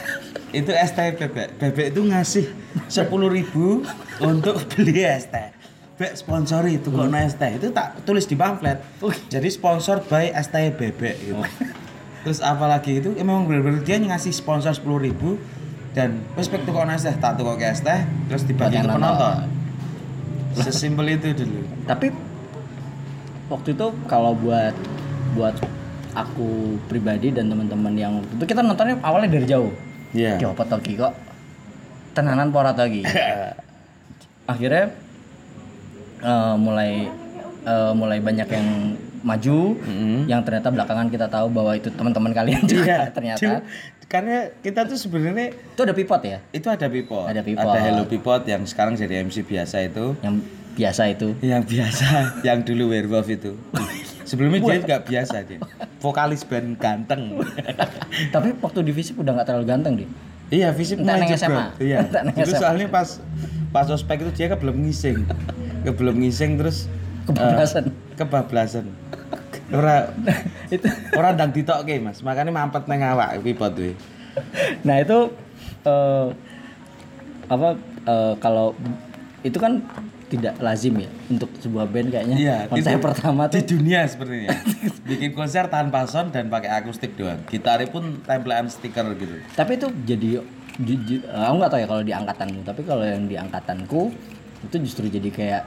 B: itu ST Bebek Bebek itu ngasih sepuluh ribu untuk beli es teh Bek sponsor itu kok no es teh itu tak tulis di pamflet jadi sponsor by ST Bebek gitu terus apalagi itu ya memang benar-benar dia ngasih sponsor sepuluh ribu dan respect tuh kok no es teh tak tuh kok es teh terus
A: Buat
B: dibagi ke
A: yang
B: penonton sesimpel itu dulu
A: Tapi waktu itu kalau buat buat aku pribadi dan teman-teman yang waktu itu kita nontonnya awalnya dari jauh.
B: Iya.
A: Ki apa toki kok tenanan pora toki.
B: Iya.
A: Akhirnya eh, mulai eh, mulai banyak yang maju
B: Mm-hmm.
A: yang ternyata belakangan kita tahu bahwa itu teman-teman kalian juga ternyata.
B: Iya. Cuma- karena kita tuh sebenarnya
A: Itu ada pivot ya
B: itu ada pipot.
A: Ada pipot.
B: Hello Pipot yang sekarang jadi MC biasa itu.
A: yang biasa itu.
B: Yang biasa, yang dulu werewolf itu. Sebelumnya dia nggak biasa dia. Vokalis band ganteng.
A: Tapi waktu di Visip udah nggak terlalu ganteng deh.
B: iya, fisik
A: Entah
B: mulai
A: neng
B: jebrot.
A: SMA.
B: Iya.
A: Entah neng
B: Itu
A: SMA.
B: soalnya pas pas ospek itu dia kebelum ngising. kebelum ngising terus
A: Kebablasan.
B: eh, kebablasan. Ora
A: Nah, itu
B: ora ndang ditokke, Mas. Makanya mampet nang awak pipot kuwi.
A: nah itu eh, apa eh, kalau itu kan tidak lazim ya untuk sebuah band kayaknya.
B: Iya,
A: konser
B: itu-
A: pertama
B: di
A: tuh
B: dunia sepertinya. Bikin konser tanpa sound dan pakai akustik doang. Gitari pun tempelan stiker gitu.
A: tapi itu jadi ju- ju- aku nggak tahu ya kalau di angkatanmu tapi kalau yang di angkatanku itu justru jadi kayak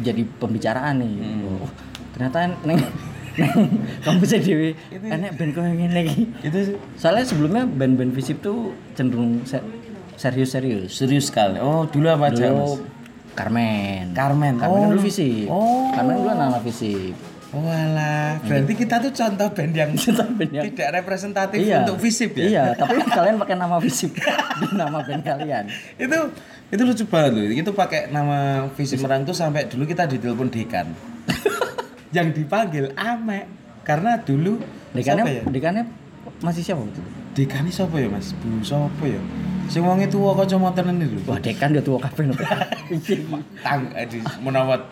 A: jadi pembicaraan nih
B: Hmm.
A: Oh, ternyata neng, neng kamu jadi enak band kau yang ini lagi
B: Itu sih.
A: soalnya sebelumnya band-band visip tuh cenderung se- serius-serius
B: serius sekali. Oh, dulu apa aja, Mas?
A: dulu Carmen
B: Carmen.
A: Carmen kan
B: Oh.
A: dulu visip
B: Oh.
A: Carmen dulu anak visip
B: Walah, berarti kita tuh Iya. contoh band yang
A: band yang-
B: tidak representatif
A: iya
B: untuk visip ya.
A: iya tapi kalian pakai nama visip di nama band kalian
B: itu itu lucu banget loh itu pakai nama visi merang tuh sampai dulu kita ditelepon dekan yang dipanggil Ame karena dulu
A: Dekannya,
B: siapa ya
A: dekannya masih siapa waktu itu?
B: dekannya siapa ya mas bu siapa ya si wong itu kok cuma tenan itu
A: Wah, dekan dia tua kabeh nopo.
B: tang eh, di menawat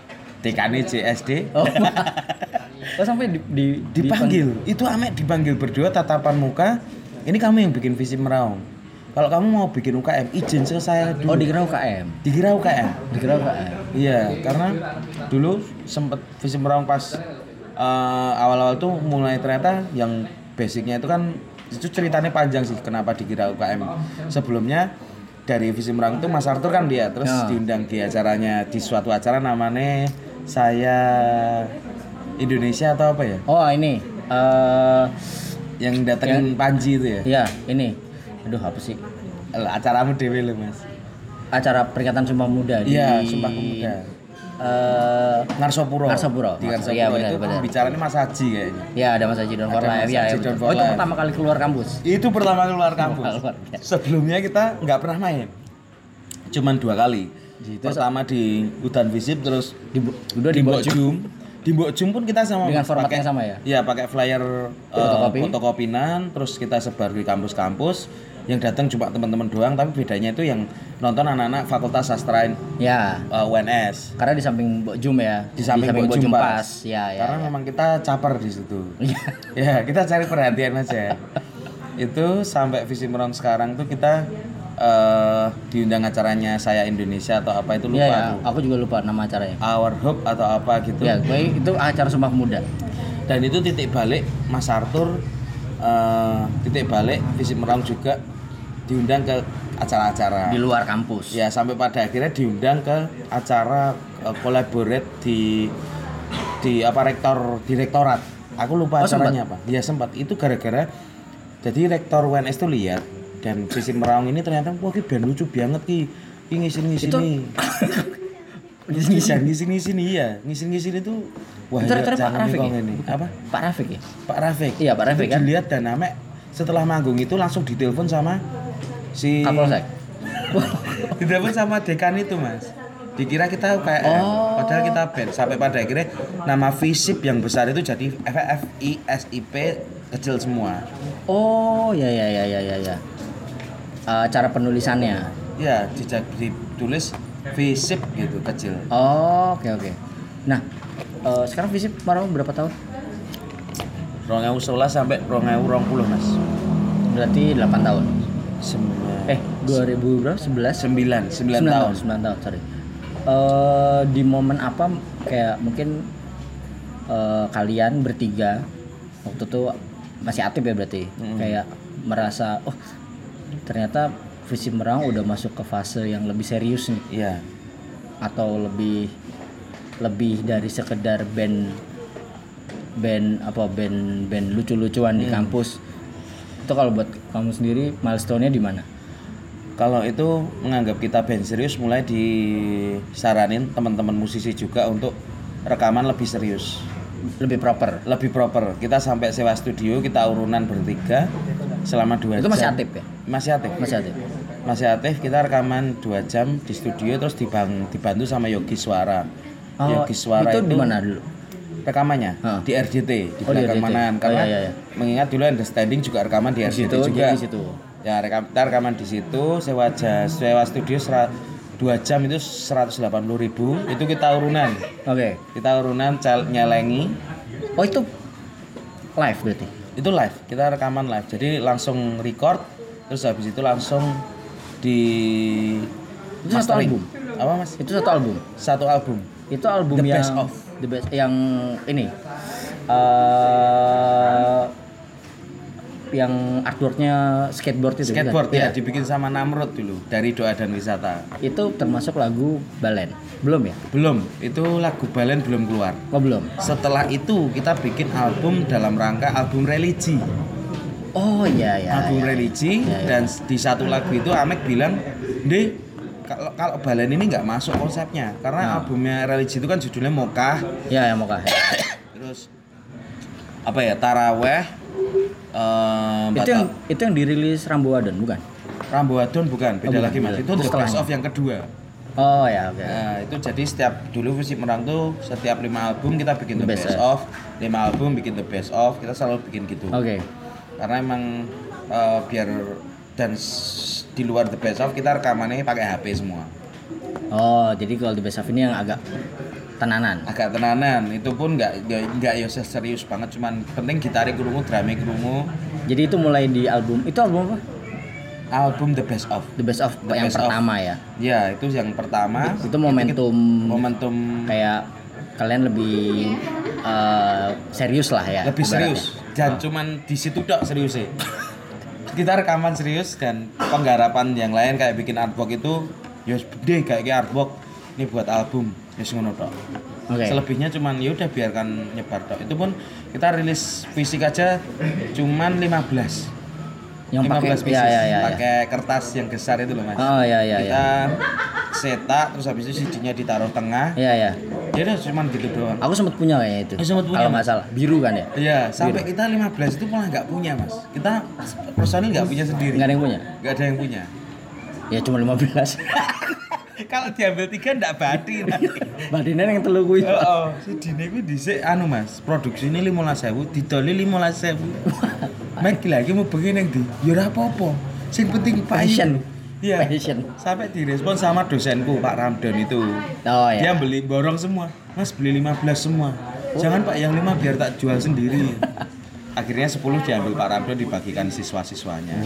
B: dekannya JSD
A: Oh. oh, sampai di, di
B: dipanggil itu Ame dipanggil berdua tatapan muka ini kamu yang bikin visi meraung kalau kamu mau bikin UKM izin ke saya
A: di- oh,
B: dulu
A: dikira UKM.
B: dikira UKM
A: Dikira UKM.
B: Iya, karena dulu sempet visi merang pas eh, awal-awal tuh mulai ternyata yang basicnya itu kan itu ceritanya panjang sih kenapa dikira UKM. Sebelumnya dari visi merang itu Mas Arthur kan dia terus
A: Ya.
B: diundang di acaranya di suatu acara namanya saya Indonesia atau apa ya?
A: Oh, ini eh
B: Yang datengin Panji itu ya.
A: ya, ini. Aduh, apa sih?
B: Lah, Acaramu dewe lo, Mas.
A: Acara peringatan Sumpah Muda di
B: Iya, Sumpah Pemuda.
A: Eh,
B: Ngarsopuro.
A: Ngarsopuro. Ngarsopuro,
B: Di Ngarsopuro
A: iya, benar,
B: itu
A: benar.
B: bicaranya Mas Haji kayaknya.
A: ya ada Mas Haji Don
B: Ada
A: for Life
B: Mas
A: ya.
B: Haji
A: ya,
B: Don
A: betul.
B: for
A: Oh, itu
B: Life.
A: pertama kali keluar kampus.
B: Itu pertama keluar kampus.
A: Keluar, ya.
B: Sebelumnya kita nggak pernah main. Cuman dua kali.
A: Di-
B: Pertama di hutan visip terus
A: Di udah
B: di
A: di
B: Mbok Jum. Di Mbok Jum pun kita sama
A: Dengan
B: Mas,
A: format
B: pakai-
A: yang sama ya?
B: Iya, pakai flyer eh,
A: Fotokopi.
B: fotokopinan terus kita sebar di kampus-kampus. Yang datang cuma teman-teman doang, tapi bedanya itu yang nonton anak-anak Fakultas Sastra
A: Ya.
B: eh, UNS.
A: Karena di samping Mbok Jum ya.
B: Di samping Mbok Jum pas.
A: Ya, ya.
B: Karena memang kita caper di situ.
A: Iya.
B: ya kita cari perhatian aja itu sampai visi merang sekarang tuh kita eh diundang acaranya saya Indonesia atau apa
A: Iya,
B: itu lupa
A: ya,
B: tuh.
A: aku juga lupa nama acaranya.
B: Our Hope atau apa gitu
A: Ya, gue itu acara Sumpah
B: Ah.
A: Muda.
B: dan itu titik balik Mas Arthur eh titik balik visi merang juga diundang ke acara-acara
A: di luar kampus.
B: ya sampai pada akhirnya diundang ke acara eh, collaborate di di apa rektor direktorat aku lupa
A: Oh, sempat?
B: acaranya apa ya sempat itu gara-gara jadi rektor UNS tuh lihat dan sisi meraung ini ternyata wah ki band lucu banget ki ki ngisin ngisin
A: Itu-
B: nih ngisin ngisin ngisin iya ngisin ngisin itu wah
A: Ntar- ntar
B: ya,
A: Pak
B: jangan nih
A: Rafiq
B: kong
A: ya?
B: ini apa
A: Pak Rafiq ya?
B: Pak Rafiq
A: Iya, Pak Rafiq
B: Itu
A: kan?
B: dilihat dan Amek setelah manggung itu langsung ditelepon sama si
A: Kapolsek.
B: Ditelepon sama dekan itu mas Dikira kita kayak
A: Oh.
B: Padahal kita band Sampai pada akhirnya Nama FISIP yang besar itu jadi FFISIP Kecil semua
A: Oh, ya ya ya ya ya ya. Eh, cara penulisannya.
B: Ya dijak- ditulis FISIP gitu kecil
A: Oh, oke oke. Nah, eh, sekarang Visip Marong berapa tahun?
B: Rongewu 11 sampai Rongewu 20 mas
A: Berarti 8 tahun.
B: Sembilan
A: Eh, 2000 berapa? 11
B: Sembilan Sembilan
A: 9
B: tahun
A: 9 tahun, sorry. Eh, di momen apa kayak mungkin eh, kalian bertiga waktu itu masih aktif ya berarti kayak merasa oh ternyata visi merang udah masuk ke fase yang lebih serius nih
B: Iya
A: atau lebih lebih dari sekedar band band apa band band lucu-lucuan
B: Hmm.
A: di kampus itu kalau buat kamu sendiri milestone-nya di mana?
B: Kalau itu menganggap kita band serius mulai disaranin teman-teman musisi juga untuk rekaman lebih serius.
A: Lebih proper.
B: lebih proper. Kita sampai sewa studio, kita urunan bertiga selama dua
A: Itu
B: jam.
A: masih aktif ya?
B: Masih aktif.
A: Masih aktif.
B: Ya, Masih aktif. Kita rekaman dua jam di studio terus dibang, dibantu sama Yogi Suara.
A: Oh,
B: Yogi Suara
A: itu
B: itu,
A: di mana dulu?
B: rekamannya
A: Heeh.
B: di RDT di
A: Oh, di RDT.
B: belakang manan
A: Oh,
B: karena
A: iya, iya, iya.
B: mengingat dulu understanding juga rekaman di RDT
A: situ,
B: Gitu juga.
A: dia di situ.
B: Ya, rekam, kita rekaman di situ, sewa jas, sewa studio serat, dua jam itu 180.000 itu kita urunan
A: Oke.
B: kita urunan cal- nyelengi
A: Oh, itu live berarti.
B: itu live kita rekaman live jadi langsung record terus habis itu langsung di
A: Itu satu album?
B: apa mas
A: Itu satu album.
B: satu album
A: Itu album
B: The
A: yang
B: Best Of.
A: the best yang ini. eh yang artworknya skateboard itu bukan?
B: skateboard
A: Iya.
B: ya dibikin sama Namrud dulu dari doa dan wisata
A: Itu termasuk lagu Balen. Belum ya?
B: belum itu lagu balen belum keluar
A: Oh belum.
B: setelah itu kita bikin album dalam rangka album religi
A: Oh iya iya.
B: album
A: iya.
B: religi
A: Ya, ya.
B: dan di satu lagu itu Amek bilang deh kalau kalau balen ini nggak masuk konsepnya
A: Ah.
B: karena albumnya religi itu kan judulnya Mokah
A: Ya yang mau kahit.
B: terus apa ya taraweh eh
A: itu yang itu yang dirilis Rambo Wadon bukan?
B: Rambo Wadon iya. bukan beda
A: Oh, bukan,
B: lagi mas
A: beda.
B: itu
A: Itu
B: the best
A: setelahnya.
B: of yang kedua
A: Oh ya oke.
B: Nah, itu jadi setiap dulu Fisik Merang tuh setiap lima album kita bikin the,
A: The
B: best,
A: best,
B: of, lima album bikin the best of, kita selalu bikin gitu.
A: Oke.
B: Karena emang eh, biar dan s- di luar the best of kita rekamannya pakai HP semua.
A: Oh jadi kalau di Best of ini yang agak tenanan.
B: Agak tenanan, itu pun nggak nggak- nggak ya serius banget, cuman penting gitarik kerungu, drumnya kerungu,
A: Jadi itu mulai di album itu album apa?
B: album the best of.
A: The Best of
B: The
A: yang
B: Best Of.
A: pertama ya.
B: Ya itu yang pertama.
A: Itu momentum
B: Momentum
A: kayak kalian lebih eh, serius lah ya.
B: lebih
A: ibaratnya.
B: serius dan cuman di situ dok serius sih kita rekaman serius dan penggarapan yang lain kayak bikin artwork itu ya deh kayak kayak artwork ini buat album ya ngono tok
A: Oke.
B: selebihnya cuman ya udah biarkan nyebar tok itu pun kita rilis fisik aja cuman 15
A: Yang pakai
B: 15
A: ya
B: pieces
A: ya ya. ya.
B: pakai kertas yang besar itu loh mas
A: Oh ya ya ya.
B: kita cetak terus habis itu CD-nya ditaruh tengah
A: Ya ya.
B: ya udah cuman gitu doang
A: Aku sempat punya kayaknya itu.
B: Oh, sempat punya.
A: Kalau nggak salah biru kan ya.
B: Iya, sampai kita 15 itu malah nggak punya, Mas. Kita personil nggak punya sendiri.
A: Nggak ada yang punya.
B: Nggak ada yang punya.
A: Ya cuma 15.
B: Kalau diambil tiga nggak batin.
A: Iya. Badinan yang telu kuwi.
B: Oh, oh. sedine kuwi dhisik anu Mas, produksi ini 15.000, didoli 15.000. Mek gila iki mau bengi ning ndi? Ya ora apa-apa. Sing penting Pak
A: Passion.
B: Iya.
A: Passion.
B: Sampai direspon sama dosenku Pak Ramdan itu.
A: Oh ya.
B: Dia beli borong semua. Mas beli 15 semua. Jangan Pak yang 5 biar tak jual sendiri. Akhirnya 10 diambil Pak Ramdan dibagikan siswa-siswanya.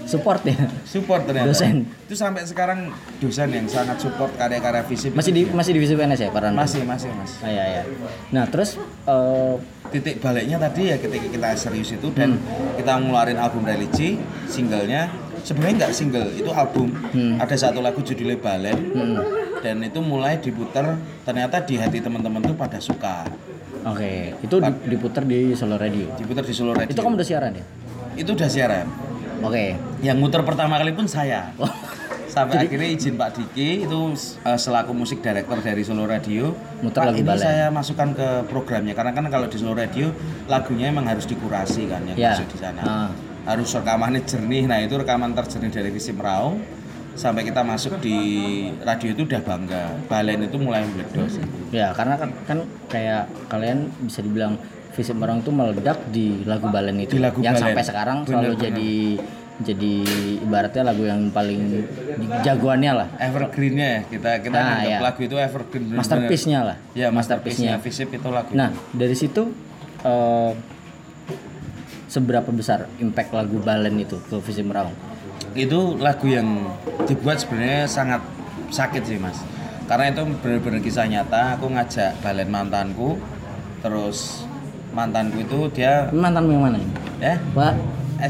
A: Support ya.
B: Support ternyata.
A: Dosen.
B: Itu sampai sekarang dosen yang sangat support karya-karya visi.
A: Masih di masih divisi PNS ya Paran.
B: masih masih Mas.
A: Ah, ya, ya. Nah, terus eh,
B: titik baliknya tadi ya ketika kita serius itu dan
A: Hmm.
B: kita ngeluarin album religi singlenya sebenarnya nggak single itu album
A: Hmm.
B: ada satu lagu judulnya Balen dan itu mulai diputer ternyata di hati teman-teman tuh pada suka
A: oke, itu di- diputar di Solo Radio.
B: diputer di seluruh radio
A: Itu kamu udah siaran ya?
B: itu udah siaran
A: Oke.
B: yang muter pertama kali pun saya
A: Oh,
B: sampai akhirnya izin Pak Diki itu eh, selaku musik director dari Solo Radio
A: Muter
B: Pak
A: lagu
B: ini
A: Balen."
B: saya masukkan ke programnya karena kan kalau di Solo Radio lagunya emang harus dikurasi kan yang
A: Ya.
B: masuk di sana
A: Ah.
B: harus rekamannya jernih nah itu rekaman terjernih dari visi Meraung sampai kita masuk di radio itu udah bangga Balen itu mulai meledos
A: Ya, karena kan, kan kayak kalian bisa dibilang Visip Merong itu meledak di lagu Balen itu
B: Di lagu
A: yang
B: Balen.
A: sampai sekarang selalu
B: Bener-bener.
A: jadi jadi ibaratnya lagu yang paling jagoannya lah,
B: evergreennya ya kita kita
A: Ah,
B: anggap
A: ya.
B: lagu itu evergreen bener-bener.
A: masterpiece-nya lah.
B: ya masterpiece-nya Visip itu lagu
A: Nah, dari situ eh, seberapa besar impact lagu Balen itu ke Visip Merong?
B: itu lagu yang dibuat sebenarnya sangat sakit sih mas karena itu benar-benar kisah nyata aku ngajak balen mantanku terus mantanku itu dia
A: Mantanmu yang mana ini?
B: ya
A: Pak,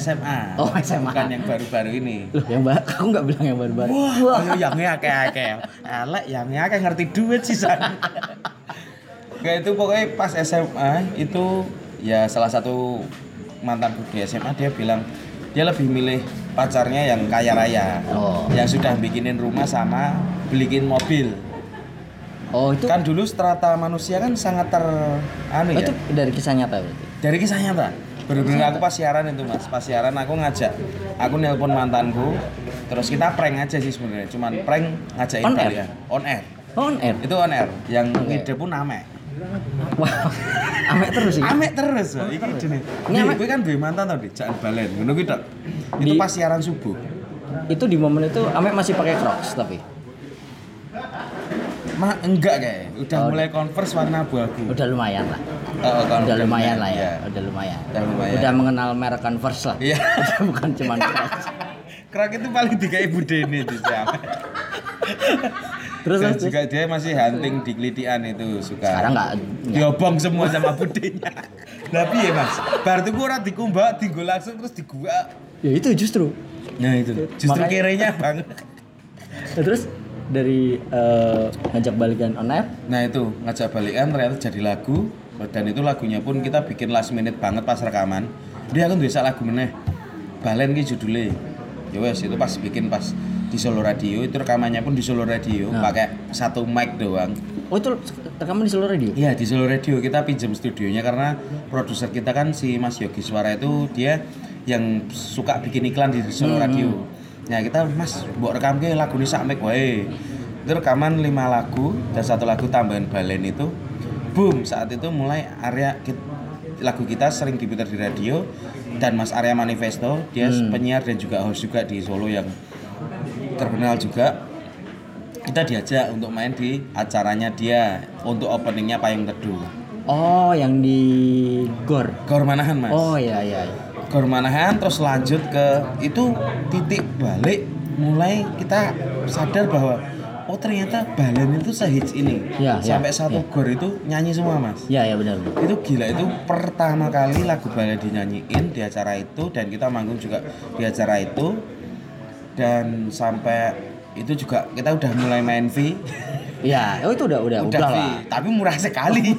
B: SMA
A: Oh, SMA.
B: bukan yang baru-baru ini
A: loh yang ba- aku nggak bilang yang baru-baru.
B: wah ayo yang akeh-akeh elek yang akeh ngerti duit sih san kayak itu pokoknya pas SMA itu ya salah satu mantanku di SMA dia bilang dia lebih milih pacarnya yang kaya raya
A: Oh.
B: yang sudah bikinin rumah sama beliin mobil.
A: Oh itu,
B: Kan dulu strata manusia kan sangat ter anu
A: oh,
B: ya.
A: itu dari kisah nyata berarti.
B: Dari kisah nyata. Bener-bener aku pas siaran itu mas, pas siaran aku ngajak, aku nelpon mantanku, terus kita prank aja sih sebenarnya, cuman prank ngajakin
A: On air?
B: kalian. on air,
A: On air.
B: itu on air, yang ide pun ame,
A: Wah, amek terus sih.
B: ame terus, Wak. iki ide nih,
A: Iya. Ini
B: ini
A: ame.
B: gue kan duwe mantan tau di jangan balen, ngono kuwi, Dok. itu
A: Di-
B: pas siaran subuh,
A: Itu di momen itu amek masih pakai Crocs tapi
B: mah enggak kayak, udah mulai converse warna
A: Oh.
B: abu-abu,
A: udah lumayan lah.
B: Oh, kalau
A: Udah lumayan lah ya,
B: iya.
A: udah lumayan.
B: Udah lumayan.
A: Udah mengenal merek Converse lah.
B: Iya.
A: Udah Bukan cuman Crocs.
B: Kerak itu paling tiga ibu Dene di siapa?
A: Terus terus.
B: ya. Dan Iya juga dia masih hunting di kelitian itu suka.
A: Sekarang nggak
B: diobong semua sama budenya. Lah piye Mas? Bar tuku ora dikumbak, dienggo langsung terus digua.
A: ya itu justru.
B: Nah itu. Justru
A: Makanya-
B: kirenya Bang.
A: Nah, terus dari eh, ngajak balikan on air
B: Nah itu ngajak balikan ternyata jadi lagu dan itu lagunya pun kita bikin last minute banget pas rekaman. Dia kan bisa lagu meneh. Balen ki judulnya. Ya wes itu pas bikin pas di Solo Radio itu rekamannya pun di Solo Radio pakai satu mic doang.
A: Oh itu rekaman di seluruh radio?
B: Iya di Solo Radio kita pinjam studionya karena produser kita kan si Mas Yogi Suara itu dia yang suka bikin iklan di Solo Radio. Nah kita Mas buat rekam ke lagu ini sampai wae. Itu rekaman lima lagu dan satu lagu tambahan balen itu. Boom saat itu mulai area ki- lagu kita sering diputar di radio dan Mas Arya Manifesto dia penyiar dan juga host juga di Solo yang terkenal juga kita diajak untuk main di acaranya dia untuk openingnya Payung Teduh
A: Oh yang di Gor.
B: Gor Manahan mas
A: Oh iya iya.
B: Gor Manahan terus lanjut ke itu titik balik mulai kita sadar bahwa oh ternyata balen itu sehits ini
A: Ya, ya,
B: sampai satu gor itu nyanyi semua mas
A: Iya iya benar. benar.
B: itu gila itu pertama kali lagu balai dinyanyiin di acara itu dan kita manggung juga di acara itu dan sampai itu juga kita udah mulai main V
A: Iya. Oh itu udah udah udah,
B: Ya udah
A: lah.
B: free, tapi murah sekali.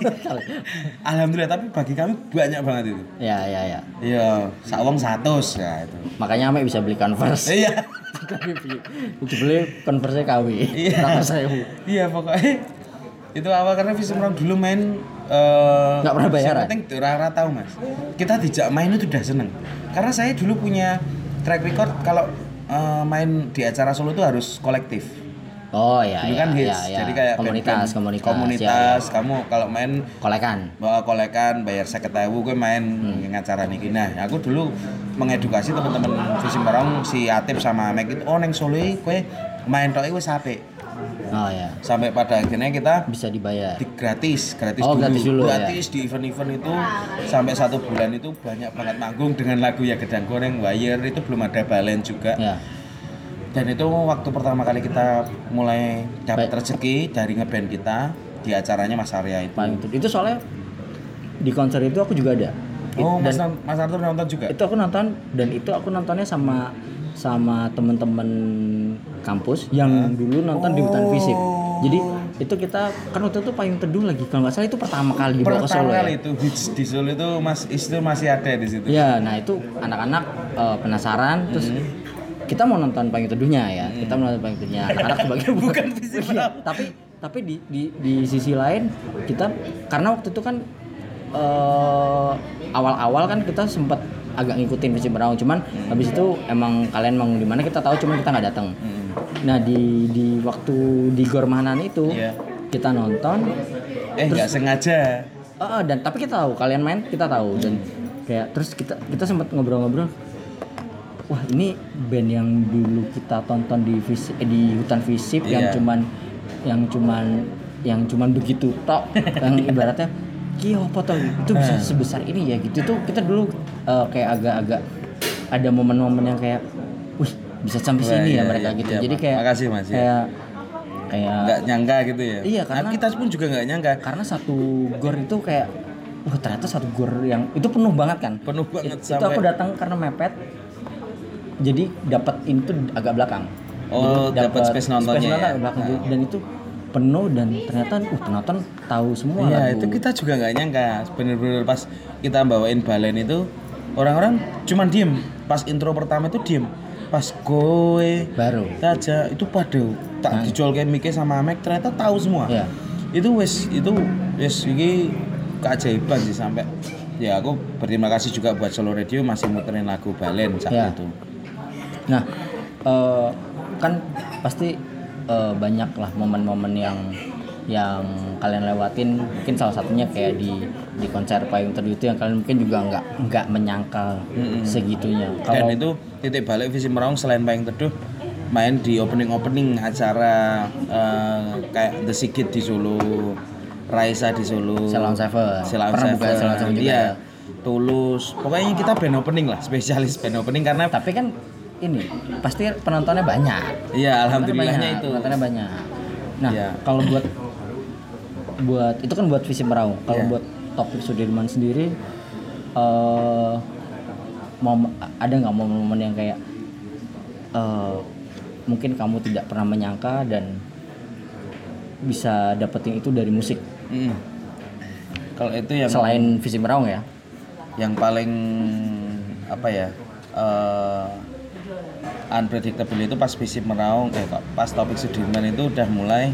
B: Alhamdulillah, tapi bagi kami banyak banget itu.
A: Iya iya iya.
B: Iya, sawang satu ya itu.
A: Makanya Ame bisa beli Converse.
B: Iya,
A: Bisa beli Converse KW. Ratus sewu.
B: iya pokoknya itu awal karena Visumram dulu main eh,
A: Nggak pernah ya? bayaran?
B: yang penting rara tahu mas. Kita dijak main itu udah seneng. Karena saya dulu punya track record kalau eh, main di acara solo itu harus kolektif.
A: Oh iya
B: Dulu
A: iya.
B: kan hits,
A: iya, iya.
B: jadi kayak
A: komunitas komunitas. ya,
B: band-band, komunitas. Kamu kalau main
A: iya. Kolekan.
B: bawa kolekan bayar saya ketahui gue main ngacara niki nah aku dulu mengedukasi teman-teman visi merong si Atip sama Mek itu oh neng Solo iki kowe main tok wis apik
A: Oh iya.
B: sampai pada akhirnya kita
A: Bisa dibayar.
B: di gratis gratis
A: Oh,
B: dulu
A: gratis dulu,
B: di event-event itu sampai satu bulan itu banyak banget manggung dengan lagu ya gedang goreng wire itu belum ada balen juga
A: Ya.
B: dan itu waktu pertama kali kita mulai dapat
A: Baik.
B: rezeki dari ngeband kita di acaranya Mas Arya itu
A: Paling itu. Itu soalnya di konser itu aku juga ada.
B: oh Mas, Mas Arthur nonton juga
A: itu aku nonton dan itu aku nontonnya sama sama temen-temen kampus yang dulu nonton di hutan fisik
B: Oh.
A: jadi itu kita kan waktu itu payung teduh lagi kalau nggak salah itu pertama kali dibawa ke Solo
B: pertama
A: ya
B: kali itu hits di Solo itu mas itu masih ada di situ
A: ya nah itu anak-anak eh, penasaran terus kita mau nonton payung teduhnya ya kita mau nonton payung teduhnya anak-anak sebagai bukan fisik Iya, tapi tapi di, di di sisi lain kita karena waktu itu kan eh, awal-awal kan kita sempat agak ngikutin Vici Brown cuman habis itu emang kalian mau di mana kita tahu cuman kita nggak datang nah di di waktu di Gormanan itu
B: Iya.
A: kita nonton
B: eh nggak sengaja
A: Ah, dan tapi kita tahu kalian main kita tahu dan kayak terus kita kita sempat ngobrol-ngobrol. Wah ini band yang dulu kita tonton di Visi- eh, di hutan visip yang
B: Iya.
A: cuman yang cuman yang cuman begitu tok yang ibaratnya ki apa tuh itu bisa
B: Eh.
A: sebesar ini ya gitu tuh kita dulu eh, kayak agak-agak ada momen-momen yang kayak wih bisa sampai
B: Wah,
A: sini
B: iya,
A: ya mereka
B: iya,
A: gitu
B: iya,
A: jadi
B: Pak.
A: kayak
B: Makasih, Mas, ya.
A: kayak kayak
B: nggak nyangka gitu ya
A: Iya,
B: Nah,
A: karena-
B: kita pun juga nggak nyangka
A: karena satu gor itu kayak wah ternyata satu gor yang itu penuh banget kan
B: penuh
A: It-
B: banget
A: itu
B: sampai
A: aku datang karena mepet jadi dapat itu agak belakang
B: oh
A: Jadi
B: dapat
A: dapet
B: space nontonnya
A: space
B: ya
A: agak belakang dan itu penuh dan ternyata uh penonton tahu semua
B: Iya,
A: lagu.
B: itu kita juga nggak nyangka bener-bener pas kita bawain balen itu orang-orang cuman diem pas intro pertama itu diem pas gue
A: baru
B: aja itu pada tak dijual kayak Mike sama Mac ternyata tahu semua
A: Nah. Iya.
B: itu wes itu wes ini keajaiban sih sampai ya aku berterima kasih juga buat Solo Radio masih muterin lagu Balen saat
A: Iya.
B: itu
A: nah eh, kan pasti eh, banyak lah momen-momen yang yang kalian lewatin mungkin salah satunya kayak di di konser payung teduh itu yang kalian mungkin juga nggak nggak menyangkal segitunya
B: dan
A: kalau
B: itu titik balik visi meraung selain Payung Teduh main di opening opening acara eh, kayak The Sigit di Solo Raisa di Solo
A: Salon Seven
B: Selam
A: pernah buka
B: Seven,
A: Salon Seven juga
B: iya.
A: ya.
B: Tulus pokoknya kita band opening lah spesialis band opening karena
A: tapi kan ini pasti penontonnya banyak.
B: Iya,
A: Penontonnya
B: alhamdulillahnya
A: banyak,
B: itu.
A: Penontonnya banyak. Nah,
B: Iya.
A: kalau buat buat itu kan buat visi merau. Kalau
B: Iya.
A: buat topik Sudirman sendiri eh mom- ada nggak momen-momen yang kayak eh mungkin kamu tidak pernah menyangka dan bisa dapetin itu dari musik
B: Mm. Kalau itu yang
A: selain visi merau ya
B: yang paling apa ya? eh, unpredictable itu pas visi meraung eh kok, pas topik Sudirman itu udah mulai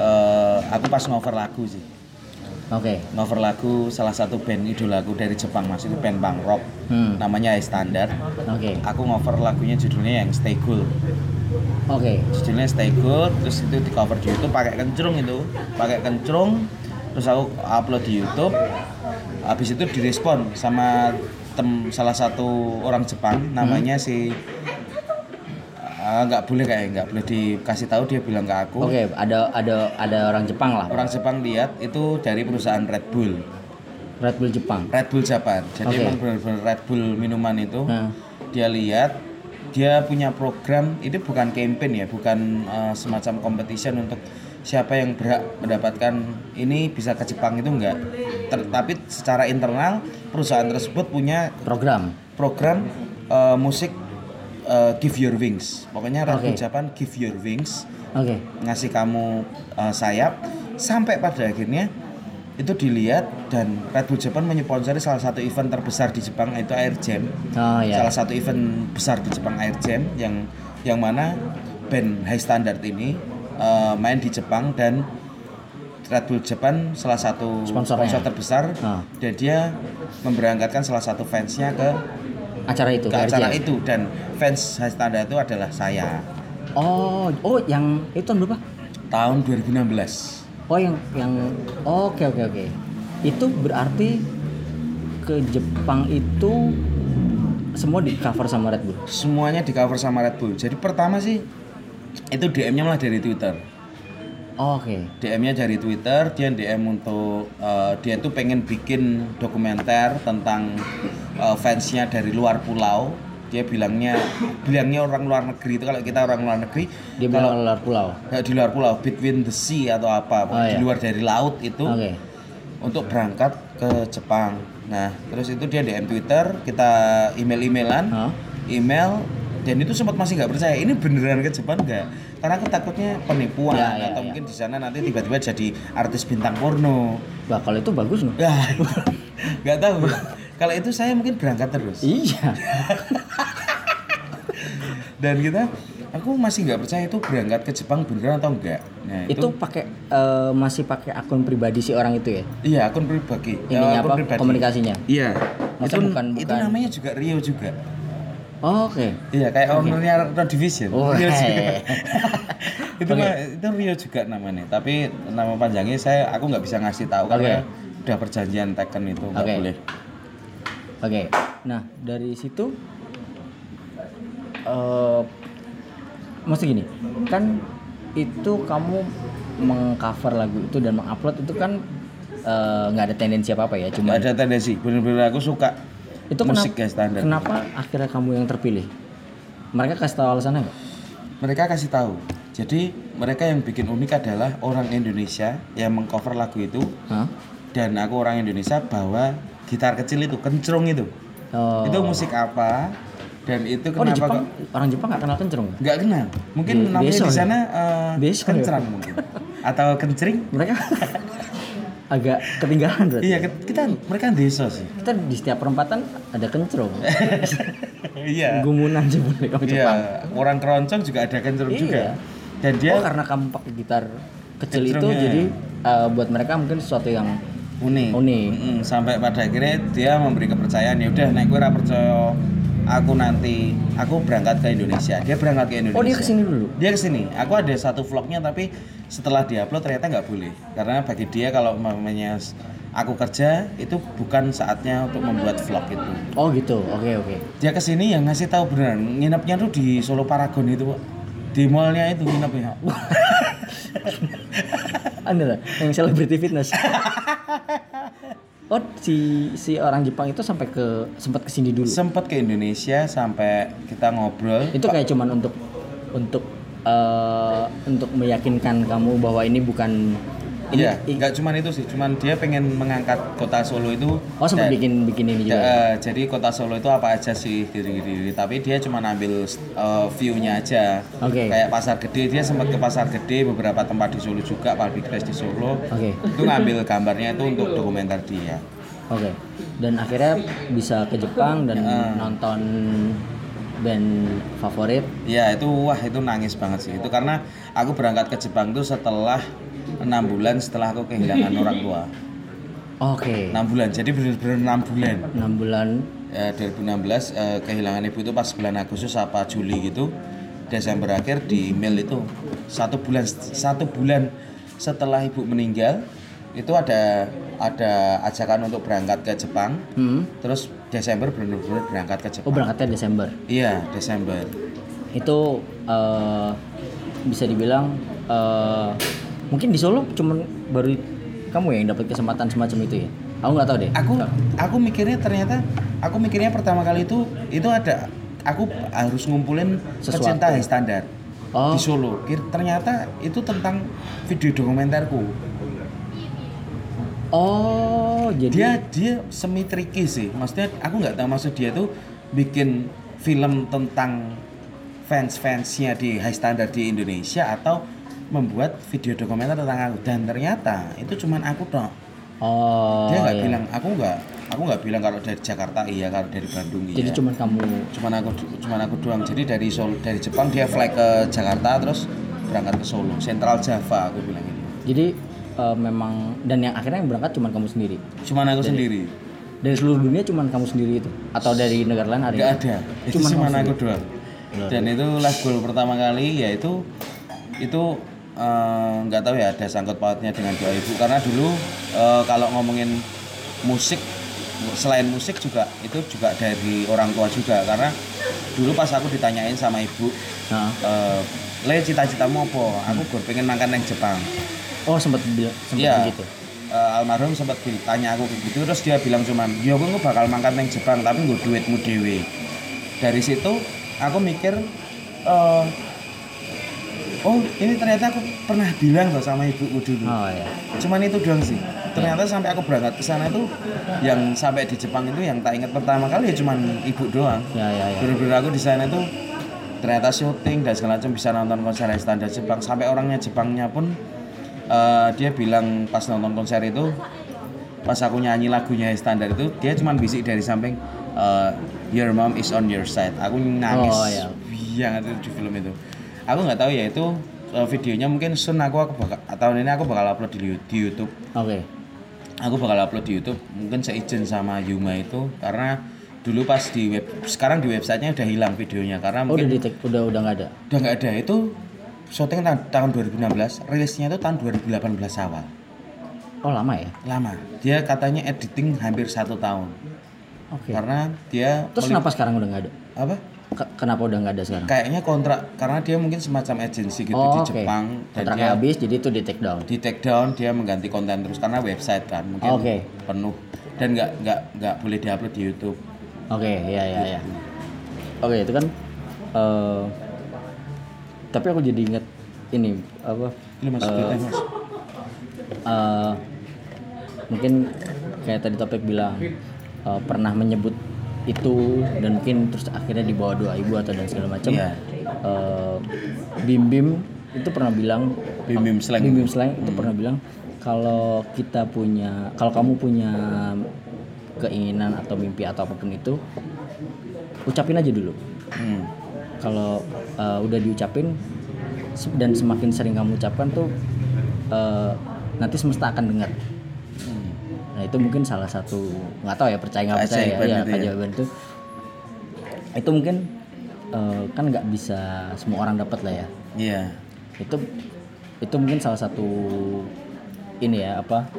B: eh, aku pas ngover lagu sih.
A: oke
B: Ngover lagu salah satu band idolaku dari Jepang Mas itu band punk rock.
A: Hmm.
B: Namanya High Standard.
A: oke
B: Aku ngover lagunya judulnya yang Stay Cool.
A: oke
B: judulnya Stay Good terus itu di cover di YouTube pakai kencrung itu pakai kencrung terus aku upload di YouTube habis itu direspon sama tem salah satu orang
A: Hmm.
B: Jepang namanya si Ah, nggak boleh kayak nggak boleh dikasih tahu dia bilang ke aku
A: oke ada ada ada orang Jepang lah
B: orang Jepang lihat itu dari perusahaan Red Bull
A: Red Bull Jepang
B: Red Bull Japan jadi
A: Oke.
B: emang benar-benar Red Bull minuman itu
A: nah
B: dia lihat dia punya program itu bukan campaign ya bukan uh, semacam competition untuk siapa yang berhak mendapatkan ini bisa ke Jepang itu enggak Ter- tapi secara internal perusahaan tersebut punya
A: program
B: program uh, musik uh, Give Your Wings pokoknya Red Bull
A: Oke.
B: Japan Give Your Wings
A: oke
B: ngasih kamu uh, sayap sampai pada akhirnya itu dilihat dan Red Bull Japan menyponsori salah satu event terbesar di Jepang yaitu Air Jam
A: oh ya
B: salah satu event besar di Jepang Air Jam yang yang mana band High Standard ini eh, main di Jepang dan Red Bull Japan salah satu
A: Sponsornya.
B: sponsor terbesar
A: Ah.
B: dan dia memberangkatkan salah satu fansnya ke,
A: acara itu
B: ke
A: KRJ.
B: acara itu dan fans High Standard itu adalah saya
A: oh oh yang itu tahun berapa
B: tahun 2016
A: oh yang yang oke oke oke itu berarti ke Jepang itu semua di cover sama Red Bull
B: semuanya di cover sama Red Bull jadi pertama sih itu DM-nya malah dari Twitter
A: oke
B: DM-nya dari Twitter, dia DM untuk eh, dia tuh pengen bikin dokumenter tentang eh, fansnya dari luar pulau. Dia bilangnya bilangnya orang luar negeri itu kalau kita orang luar negeri
A: dia bilang luar pulau
B: eh, di luar pulau between the sea atau apa
A: Oh,
B: di
A: iya.
B: luar dari laut itu
A: oke
B: untuk berangkat ke Jepang. Nah, terus itu dia DM Twitter, kita email-emailan
A: Hah?
B: email dan itu sempat masih nggak percaya ini beneran ke Jepang nggak karena aku takutnya penipuan
A: Ya, ya,
B: atau
A: ya.
B: mungkin di sana nanti tiba-tiba jadi artis bintang porno
A: Wah, kalau itu bagus loh
B: ya nggak tahu kalau itu saya mungkin berangkat terus
A: iya
B: dan kita aku masih nggak percaya itu berangkat ke Jepang beneran atau enggak nah
A: itu pakai eh, masih pakai akun pribadi si orang itu ya
B: iya akun pribadi Eh,
A: ininya
B: akun
A: apa
B: pribadi.
A: komunikasinya
B: iya itu,
A: Maksudnya bukan-
B: itu
A: bukan-
B: namanya juga Rio juga
A: oke
B: iya kayak ownernya Red Division
A: Oh,
B: Rio juga.
A: hei.
B: itu mah- itu Rio juga namanya tapi nama panjangnya saya aku nggak bisa ngasih tahu
A: Oke.
B: karena udah perjanjian Tekken itu nggak
A: Oke.
B: boleh
A: Oke, nah dari situ, eh maksud gini, kan itu kamu mengcover lagu itu dan mengupload itu kan eh, nggak ada tendensi apa apa ya,
B: nggak
A: cuma
B: ada tendensi bener-bener aku suka
A: itu
B: musik
A: kenapa,
B: ya standar
A: kenapa akhirnya kamu yang terpilih? Mereka kasih tahu alasannya nggak?
B: mereka kasih tahu jadi mereka yang bikin unik adalah orang Indonesia yang mengcover lagu itu
A: Hah?
B: dan aku orang Indonesia bawa gitar kecil itu kencrung itu
A: Oh,
B: itu musik apa dan itu
A: oh di
B: kenapa
A: Jepang
B: kok
A: orang Jepang nggak kenal kencurung?
B: nggak kenal mungkin
A: Be-
B: namanya
A: beso
B: di
A: ya?
B: sana eh,
A: Beso ya?
B: kencrang mungkin atau kencring
A: Mereka agak ketinggalan berarti.
B: Iya, ke- kita mereka desa sih.
A: Kita di setiap perempatan ada kencurung,
B: Iya.
A: gumunan sih boleh oh, kamu
B: Iya,
A: Jepang.
B: orang keroncong juga ada kencur
A: Iya.
B: juga. Dan dia
A: oh karena kamu pakai gitar kecil itu
B: Kencrungnya.
A: jadi eh, buat mereka mungkin sesuatu yang
B: unik.
A: Oh, Unik.
B: Mm-mm, sampai pada akhirnya dia memberi kepercayaan, ya udah nek gue ra percaya aku nanti aku berangkat ke Indonesia. Dia berangkat ke Indonesia.
A: oh dia kesini dulu
B: Dia kesini. Aku ada satu vlognya tapi setelah diupload ternyata nggak boleh karena bagi dia kalau namanya s- aku kerja itu bukan saatnya untuk membuat vlog itu.
A: oh gitu oke oke
B: Dia kesini yang ngasih tahu beneran nginepnya tuh di Solo Paragon itu, Pak. Di mallnya itu ya. nginepnya.
A: anda lah yang selebriti fitness Oh, si si orang Jepang itu sampai ke sempat ke sini dulu.
B: Sempet ke Indonesia sampai kita ngobrol.
A: itu kayak cuman untuk untuk eh, untuk meyakinkan kamu bahwa ini bukan ini
B: Iya, nggak cuman itu sih, cuman dia pengen mengangkat kota Solo itu.
A: Oh, sempat
B: dan-
A: bikin bikin ini juga.
B: Eh, jadi kota Solo itu apa aja sih diri-diri, tapi dia cuma ambil eh, view-nya aja.
A: Oke.
B: Kayak pasar gede, dia sempat ke pasar gede beberapa tempat di Solo juga, public place di Solo.
A: Oke.
B: Itu ngambil gambarnya itu untuk dokumenter dia.
A: Oke. Dan akhirnya bisa ke Jepang dan
B: Ah.
A: nonton band favorit.
B: Ya itu wah itu nangis banget sih itu karena aku berangkat ke Jepang tuh setelah enam bulan setelah aku kehilangan orang tua
A: Oke.
B: enam bulan jadi benar-benar enam bulan
A: enam bulan.
B: Eh, 2016 eh, kehilangan ibu itu pas bulan Agustus apa Juli gitu Desember akhir di email itu satu bulan satu bulan setelah ibu meninggal itu ada ada ajakan untuk berangkat ke Jepang
A: Hmm.
B: terus Desember benar-benar berangkat ke
A: Oh,
B: Jepang
A: berangkatnya Desember.
B: iya Desember
A: Itu eh, bisa dibilang eh, mungkin di Solo cuman baru kamu ya yang dapat kesempatan semacam itu ya. Aku nggak tahu deh.
B: aku aku mikirnya ternyata aku mikirnya pertama kali itu itu ada aku harus ngumpulin
A: Sesuatu.
B: pecinta high standar
A: Oh.
B: di Solo Kir- ternyata itu tentang video dokumenterku
A: Oh, jadi
B: dia dia semi tricky sih maksudnya aku nggak tahu maksud dia tuh bikin film tentang fans-fansnya di high standar di Indonesia atau membuat video dokumenter tentang aku dan ternyata itu cuman aku dong
A: oh.
B: dia nggak
A: iya.
B: bilang aku nggak aku nggak bilang kalau dari Jakarta iya kalau dari Bandung iya
A: Jadi cuman kamu
B: cuman aku cuman aku doang jadi dari Solo dari Jepang dia fly ke Jakarta terus berangkat ke Solo Central Java aku bilang gitu
A: jadi eh, memang dan yang akhirnya yang berangkat cuman kamu sendiri.
B: cuman aku sendiri
A: Dari seluruh dunia cuman kamu sendiri itu atau dari negara lain ada?
B: nggak
A: yang-
B: ada itu
A: Iya. Cuman
B: cuman,
A: kamu
B: aku doang dan itu last goal pertama kali yaitu itu eh, nggak tahu ya ada sangkut pautnya dengan doa ibu karena dulu eh, kalau ngomongin musik selain musik juga itu juga dari orang tua juga karena dulu pas aku ditanyain sama ibu
A: Nah.
B: eh, le cita-citamu apa aku gue pengen makan yang Jepang
A: Oh, sempat bilang sempat
B: Iya.
A: gitu.
B: Eh, almarhum sempat tanya aku kayak gitu terus dia bilang cuman ya aku nggak bakal mangkat neng Jepang tapi gue duitmu dewe dari situ aku mikir eh, oh ini ternyata aku pernah bilang loh sama ibuku dulu
A: Oh ya.
B: cuman itu doang sih ternyata sampai aku berangkat ke sana tuh yang sampai di Jepang itu yang tak ingat pertama kali ya cuman ibu doang
A: Ya ya ya.
B: bener-bener aku di sana tuh ternyata syuting dan segala macam bisa nonton konser standar Jepang sampai orangnya Jepangnya pun eh, dia bilang pas nonton konser itu pas aku nyanyi lagunya standar itu dia cuman bisik dari samping eh, your mom is on your side aku nangis
A: Oh, iya.
B: banget itu di film itu aku nggak tahu ya itu eh, videonya mungkin soon aku aku bakal tahun ini aku bakal upload di, di YouTube
A: Oke.
B: aku bakal upload di YouTube mungkin saya izin sama Yuma itu karena dulu pas di web sekarang di websitenya udah hilang videonya karena
A: Oh, udah
B: mungkin
A: di take- udah udah nggak ada.
B: udah nggak ada itu syuting ta- tahun 2016 rilisnya itu tahun 2018 awal
A: Oh, lama ya.
B: lama dia katanya editing hampir satu tahun
A: Oke.
B: karena dia
A: Terus kenapa sekarang udah nggak ada?
B: apa
A: Ke- kenapa udah nggak ada sekarang?
B: kayaknya kontrak karena dia mungkin semacam agensi gitu
A: oh,
B: di
A: oke.
B: Jepang dan ya.
A: Kontraknya
B: dia
A: habis jadi itu di take down.
B: di take down dia mengganti konten terus karena website kan mungkin
A: Oke.
B: penuh dan nggak nggak nggak boleh diupload di YouTube
A: Oke, ya ya ya. Oke, itu kan eh, tapi aku jadi ingat ini apa
B: ini masuk duitnya, Mas.
A: eh, mungkin kayak tadi topik bilang eh, pernah menyebut itu dan mungkin terus akhirnya dibawa doa ibu atau dan segala macam.
B: Iya.
A: Eh, Bim Bim itu pernah bilang
B: Bim Bim Slang.
A: Bim Bim Slang itu pernah bilang kalau kita punya kalau kamu punya keinginan atau mimpi atau apapun itu ucapin aja dulu.
B: Hmm.
A: Kalau eh, udah diucapin se- dan semakin sering kamu ucapkan tuh eh, nanti semesta akan dengar. Nah itu mungkin salah satu nggak tahu ya percaya nggak percaya ya,
B: Keajaiban
A: ya
B: itu ya.
A: keajaiban itu. Itu mungkin eh, kan nggak bisa semua orang dapat lah ya
B: Iya.
A: itu itu mungkin salah satu ini ya apa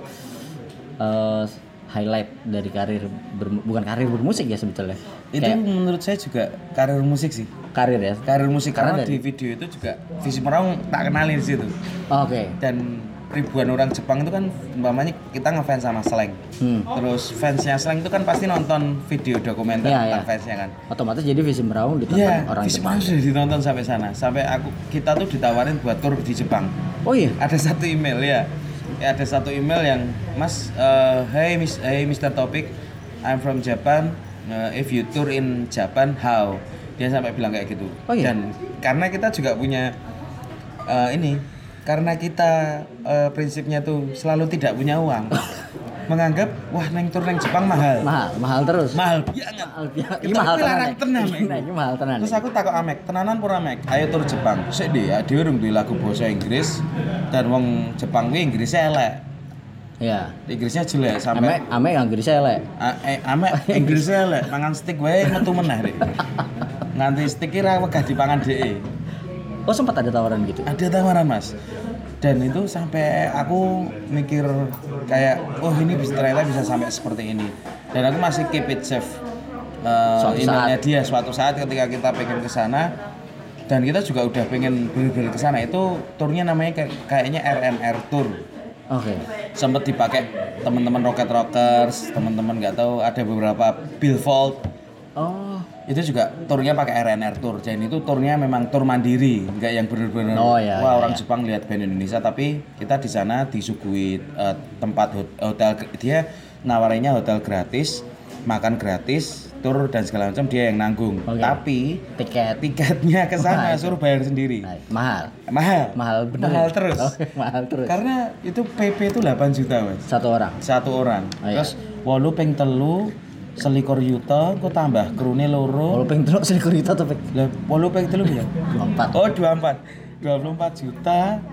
A: eh, highlight dari karir bermu- bukan karir bermusik ya sebetulnya
B: Itu menurut saya juga karir musik sih.
A: karir ya
B: Karir musik
A: Karena
B: karena, di video itu juga Visi Merang tak kenalin di situ.
A: oke
B: Dan ribuan orang Jepang itu kan umpamanya kita ngefans sama Slank.
A: Hmm.
B: Terus fansnya Slank itu kan pasti nonton video dokumenter
A: Iya,
B: tentang
A: iya.
B: fansnya kan.
A: otomatis jadi visi Brown ditonton
B: Iya,
A: orang gitu.
B: Fish
A: Jepang.
B: Mouse sudah ditonton sampai sana. Sampai aku kita tuh ditawarin buat tour di Jepang.
A: Oh iya,
B: Ada satu email ya. Ya, ada satu email yang Mas, eh, hey Miss, hey Mr. Topic, I'm from Japan. Eh, if you tour in Japan, how? Dia sampai bilang kayak gitu.
A: Oh iya?
B: Dan karena kita juga punya eh, ini, karena kita eh, prinsipnya tuh selalu tidak punya uang. menganggap wah neng tour neng Jepang mahal.
A: mahal, mahal terus.
B: Mahal banget.
A: Mahal, iya,
B: Kita
A: mahal
B: kuwi larang
A: tenan.
B: tenan,
A: Iya,
B: Mek.
A: Ini mahal tenan.
B: Terus aku takut Amek, tenanan pura Amek, ayo tur Jepang. Sik deh, ya, dhewe urung duwe lagu basa Inggris dan wong Jepang kuwi Inggrisnya elek.
A: Iya.
B: Inggrisnya
A: Ame
B: jelek sampai
A: ame yang Inggris elek.
B: A- eh, Amek Inggrisnya elek, mangan steak wae metu meneh Rek. Nganti steak ki ra wegah dipangan dhek. e.
A: Oh sempat ada tawaran gitu.
B: Ada tawaran, Mas. Dan itu sampai aku mikir kayak oh ini bisa ternyata bisa sampai seperti ini. Dan aku masih keep it safe. Eh,
A: Suatu
B: emailnya dia suatu saat ketika kita pengen ke sana dan kita juga udah pengen bener-bener ke sana itu turnya namanya kayak- kayaknya RNR Tour
A: Oke.
B: sempet dipakai teman-teman Rocket Rockers teman-teman nggak tahu ada beberapa Billfold
A: Oh.
B: itu juga turnya pakai RNR tour jadi itu turnya memang tur mandiri nggak yang bener-bener
A: Oh, iya,
B: wah
A: iya,
B: orang
A: iya.
B: Jepang lihat band Indonesia tapi kita di sana disuguhi eh, tempat hot- hotel dia nawarinnya hotel gratis makan gratis tur dan segala macam dia yang nanggung
A: Oke.
B: tapi
A: Tiket.
B: tiketnya ke sana suruh bayar sendiri
A: Nah, mahal.
B: mahal
A: Mahal bener. ya?
B: Mahal terus Kan-
A: Oke, mahal terus.
B: karena itu PP itu 8 juta mas
A: Satu orang.
B: satu orang
A: Oh, iya.
B: terus walu ping telu selikur yuta kok tambah krune loro
A: Kalau pengen terus sekurita tapi
B: lah, walu peng telu ya?
A: dua empat.
B: Oh, 24. 24 juta.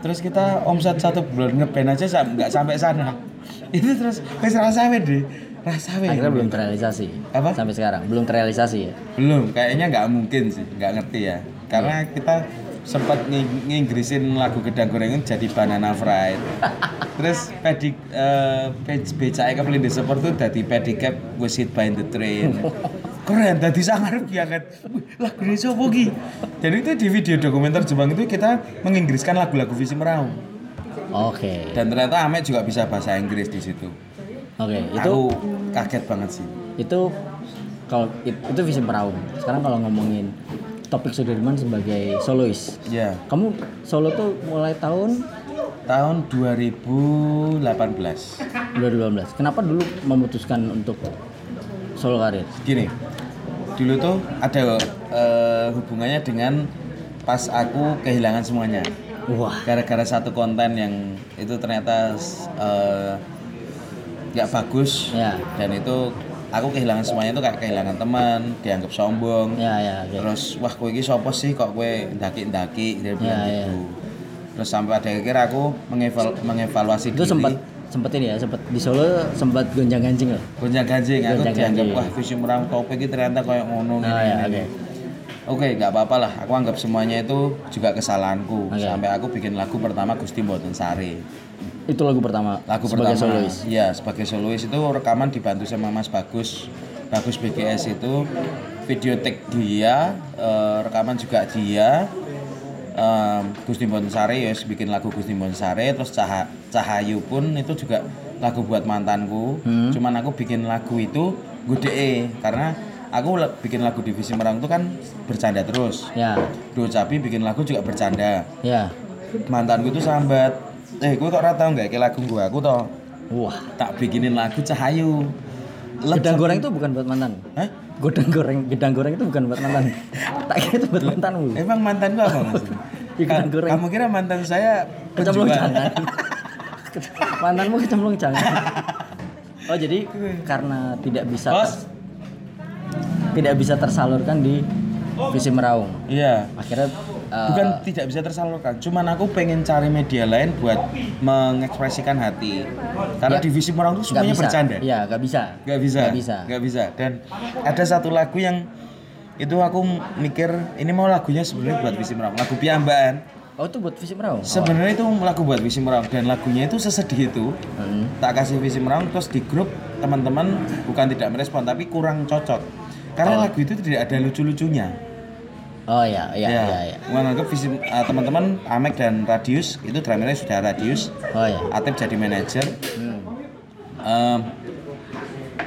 B: Terus kita omset satu bulan ngeband aja sam- nggak sampai sana. Itu terus wis rasawe deh. Rasawe.
A: Akhirnya belum terrealisasi.
B: iya, Apa?
A: Sampai sekarang belum terrealisasi ya.
B: Belum, kayaknya nggak mungkin sih, nggak ngerti ya. Karena kita sempat ng- nginggrisin lagu gedang goreng jadi banana fried. Terus pedik eh page becake kepelindes seperti itu dadi pedicab was hit by the train. Keren, dadi sangar banget. Wih, Lagu ini sopo ki? Jadi itu di video dokumenter Jepang itu kita menginggriskan lagu-lagu visi merau.
A: Oke.
B: Dan ternyata Amek juga bisa bahasa Inggris di situ.
A: Oke, itu
B: Aku kaget banget sih.
A: itu kalau it- itu visi perahu. Sekarang kalau ngomongin topik Sudirman sebagai solois.
B: Ya,
A: Kamu solo tuh mulai tahun
B: tahun 2018.
A: 2012. Kenapa dulu memutuskan untuk solo karir?
B: gini dulu tuh ada eh, hubungannya dengan pas aku kehilangan semuanya
A: Wah,
B: gara-gara satu konten yang itu ternyata eh, nggak bagus
A: Ya.
B: dan itu aku kehilangan semuanya itu kayak kehilangan teman dianggap sombong
A: ya ya. oke.
B: terus wah kowe iki sapa sih kok kowe ndaki-ndaki dia bilang
A: Ya, ya.
B: gitu terus sampai ada akhirnya aku mengeval- mengevaluasi
A: Itu
B: diri
A: sempat sempat ini ya, sempat di Solo sempat gonjang-ganjing loh.
B: gonjang ganjing aku dianggap
A: Gonjang-ganjing.
B: wah visi merah topik itu ternyata kayak ngono
A: Nah,
B: ngene,
A: ya,
B: ngene."
A: oke.
B: Oke, nggak apa-apa lah. Aku anggap semuanya itu juga kesalahanku.
A: Oke.
B: Sampai aku bikin lagu pertama Gusti Mboten Sari.
A: Itu lagu pertama
B: Lagu
A: sebagai
B: pertama,
A: solois.
B: Iya, sebagai solois itu rekaman dibantu sama Mas Bagus. Bagus BGS itu video take dia, eh, rekaman juga dia. Em, Gusti Mboten Sari ya bikin lagu Gusti Mboten Sari terus Cah- Cahayu pun itu juga lagu buat mantanku.
A: Hmm.
B: Cuman aku bikin lagu itu gede karena aku le- bikin lagu divisi merang itu kan bercanda terus.
A: Ya.
B: Duo Cabi bikin lagu juga bercanda.
A: Ya.
B: Mantanku itu sambat. Eh, gue kok ora tau nggak kayak lagu gue aku toh.
A: Wah.
B: Tak bikinin lagu Cahayu. Lep-
A: Gedang goreng itu bukan buat mantan.
B: Hah?
A: Godang goreng, gedang goreng itu bukan buat mantan. tak kira itu buat mantanmu.
B: Eh, Emang mantan gue apa mas?
A: Ya, gedang
B: Ka-
A: goreng.
B: Kamu kira mantan saya
A: Kecemplung
B: penjual?
A: jangan. Ke- mantanmu kecemplung jangan. Oh jadi karena tidak bisa
B: Bos.
A: tidak bisa tersalurkan di visi meraung.
B: Iya.
A: Akhirnya eh,
B: Bukan tidak bisa tersalurkan, cuman aku pengen cari media lain buat mengekspresikan hati. Karena
A: Ya.
B: divisi orang
A: nggak
B: itu semuanya
A: bisa.
B: bercanda.
A: Iya nggak bisa.
B: nggak bisa
A: Nggak bisa.
B: Nggak bisa. dan ada satu lagu yang itu aku mikir ini mau lagunya sebenarnya buat Wisi Merang lagu piambaan
A: Oh itu buat visi meraung. Oh.
B: sebenarnya itu lagu buat Wisi Merang dan lagunya itu sesedih itu
A: Hmm.
B: tak kasih Wisi Merang terus di grup teman-teman bukan tidak merespon tapi kurang cocok karena lagu itu tidak ada lucu-lucunya
A: Oh iya, iya, iya, iya.
B: menganggap Ya. visi eh, teman-teman Amek dan Radius itu drummernya sudah Radius,
A: Oh iya. Hmm.
B: Atep jadi manajer. Em,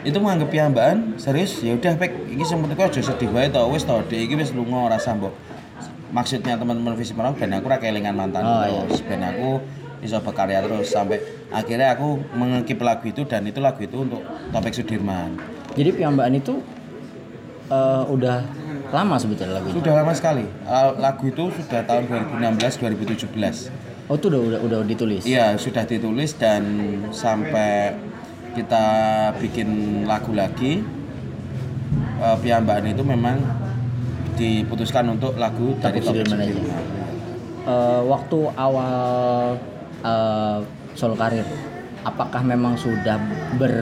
B: itu menganggap piyambakan serius ya udah pek iki sing penting kok aja sedih wae to wis to dhek iki wis lunga ora sambok. Maksudnya teman-teman visi Merau ben aku ra kelingan mantan
A: Oh,
B: terus ben aku iso berkarya terus sampai akhirnya aku mengekip lagu itu dan itu lagu itu untuk topik Sudirman.
A: Jadi piyambakan itu eh, udah lama sebetulnya lagunya.
B: Sudah lama sekali. Eh, Lagu itu sudah tahun 2016 2017.
A: Oh itu udah udah, udah ditulis.
B: Iya, sudah ditulis dan sampai kita bikin lagu lagi eh piyambakan itu memang diputuskan untuk lagu dari
A: Topik
B: Topik
A: Sudirman aja.
B: Sudirman.
A: Eh, waktu awal eh, solo karir, apakah memang sudah ber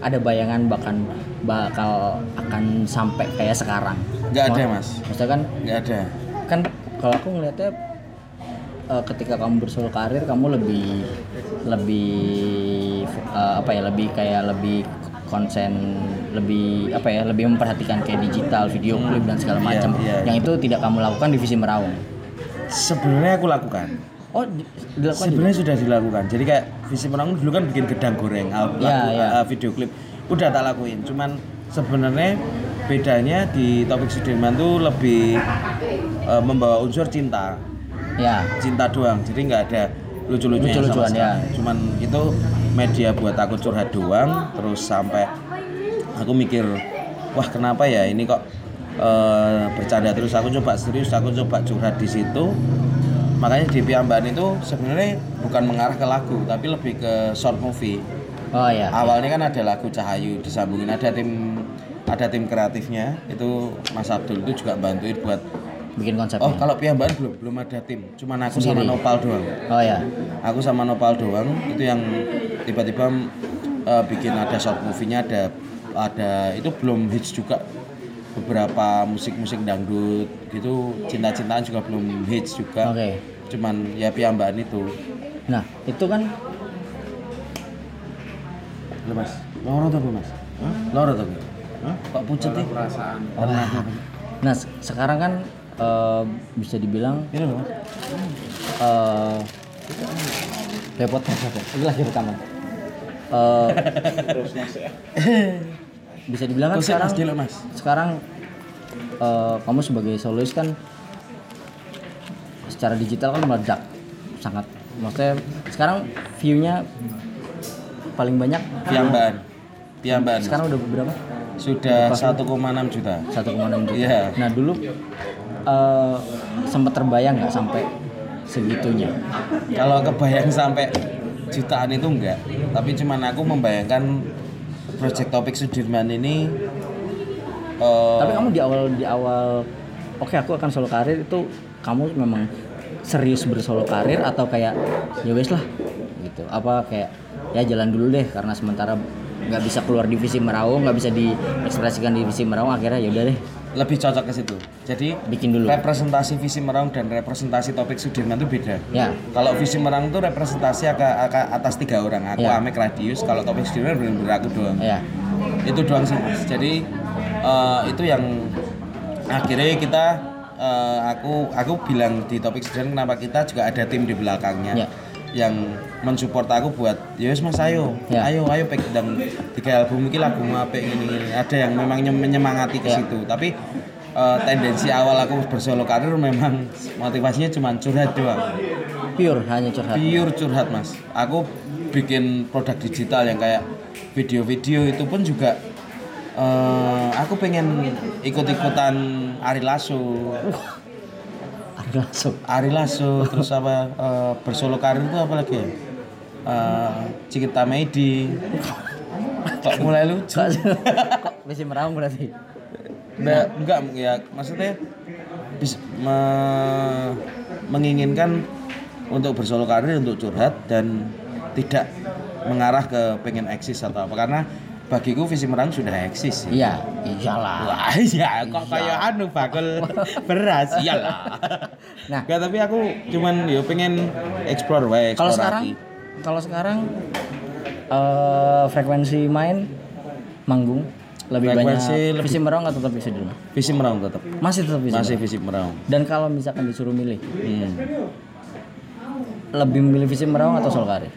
A: ada bayangan bahkan bakal akan sampai kayak sekarang?
B: Nggak ada,
A: Mak-
B: Mas.
A: Maksudnya kan
B: Nggak ada.
A: kan kalau aku ngelihatnya eh, ketika kamu bersolo karir kamu lebih lebih eh, apa ya lebih kayak lebih konsen lebih apa ya lebih memperhatikan kayak digital video klip dan segala
B: Iya,
A: macam
B: iya.
A: yang itu tidak kamu lakukan di visi meraung
B: Sebenarnya aku lakukan.
A: oh di- dilakukan juga?
B: Sebenarnya sudah dilakukan. Jadi kayak visi menang dulu kan bikin gedang goreng, al-
A: Iya,
B: lagu-
A: iya.
B: eh, video klip. Udah tak lakuin. Cuman sebenarnya bedanya di Topik Sudirman tuh lebih eh, membawa unsur cinta.
A: ya
B: cinta doang jadi nggak ada lucu-lucunya sama
A: Lucu-lucuan,
B: sekali.
A: ya.
B: cuman itu media buat aku curhat doang terus sampai aku mikir wah kenapa ya ini kok eh, bercanda terus aku coba serius aku coba curhat di situ makanya di Piamban itu sebenarnya bukan mengarah ke lagu tapi lebih ke short movie
A: oh ya
B: awalnya kan ada lagu Cahayu disambungin ada tim ada tim kreatifnya itu Mas Abdul itu juga bantuin buat
A: bikin konsepnya oh,
B: Oh, kalau piyambakan belum belum ada tim. Cuman aku sama
A: Sendiri.
B: Nopal doang.
A: ya
B: Aku sama Nopal doang itu yang tiba-tiba eh, bikin ada short movie-nya ada ada itu belum hits juga beberapa musik-musik dangdut gitu cinta-cintaan juga belum hits
A: oke
B: juga cuman ya piyambakan itu
A: nah itu kan
B: Lho, mas loro to Bu, mas Hah? loro to Bu? Hah? kok pucet nih perasaan
A: Oh, nah se- sekarang kan eh, bisa dibilang
B: ini lho mas
A: eh repot repot itu lagi rekaman Eh, bisa dibilang kan
B: Kusik,
A: sekarang
B: ya. mas dilo mas
A: sekarang eh, kamu sebagai solois kan secara digital kan meledak sangat maksudnya sekarang view-nya paling banyak
B: piyambakan piyambakan Mas.
A: sekarang udah berapa
B: sudah 1,6 juta
A: 1,6 juta.
B: Iya.
A: Nah dulu eh sempat terbayang nggak sampai segitunya?
B: Kalau kebayang sampai jutaan itu enggak, tapi cuman aku membayangkan project topik Sudirman ini eh,
A: Tapi kamu di awal di awal oke aku akan solo karir itu kamu memang serius bersolo karir atau kayak ya wes lah gitu apa kayak ya jalan dulu deh karena sementara nggak bisa keluar divisi Meraung nggak bisa diekspresikan divisi Meraung akhirnya ya udah deh
B: lebih cocok ke situ. Jadi
A: bikin dulu
B: representasi visi Merang dan representasi topik Sudirman itu beda.
A: ya
B: Kalau visi Merang itu representasi aka- aka- atas tiga orang, aku
A: Iya.
B: Amek Radius, kalau topik Sudirman benar-benar aku doang.
A: ya
B: itu doang sih mas jadi eh, itu yang akhirnya kita eh, aku aku bilang di topik sedang kenapa kita juga ada tim di
A: Ya.
B: belakangnya yang mensupport aku buat ya wis mas ayo
A: Ya.
B: ayo ayo pek dan tiga album ini lagu apa ini, ini ada yang memang nyem- menyemangati ke
A: Ya.
B: situ tapi eh, tendensi awal aku bersolo karir memang motivasinya cuma curhat doang
A: pure hanya curhat
B: pure curhat mas aku bikin produk digital yang kayak video-video itu pun juga eh, aku pengen ikut-ikutan Ari Lasso
A: Ada langsung
B: Ari Lasso terus apa eh, bersolo karir itu apa lagi ya Eh, Cikita Medi kok mulai lucu
A: Kok- kok divisi Meraung berarti
B: Nggak, enggak ya maksudnya bis- me- menginginkan untuk bersolo karir untuk curhat dan tidak mengarah ke pengen eksis atau apa karena bagiku visi merang sudah eksis sih.
A: iya iyalah
B: Wah, iya kok kayak anu bakul beras iyalah.
A: Nah.
B: Nggak, tapi aku cuman yo pengen explore wae,
A: Kalau
B: explore
A: sekarang,
B: hati.
A: kalau sekarang eh, frekuensi main manggung lebih
B: Frekuensi
A: banyak
B: lebih-
A: visi merong atau tetap visi di rumah?
B: Visi meraung tetap.
A: Masih tetap visi.
B: Masih
A: Merong.
B: visi meraung.
A: Dan kalau misalkan disuruh milih,
B: Hmm.
A: lebih milih visi merong atau sol karir?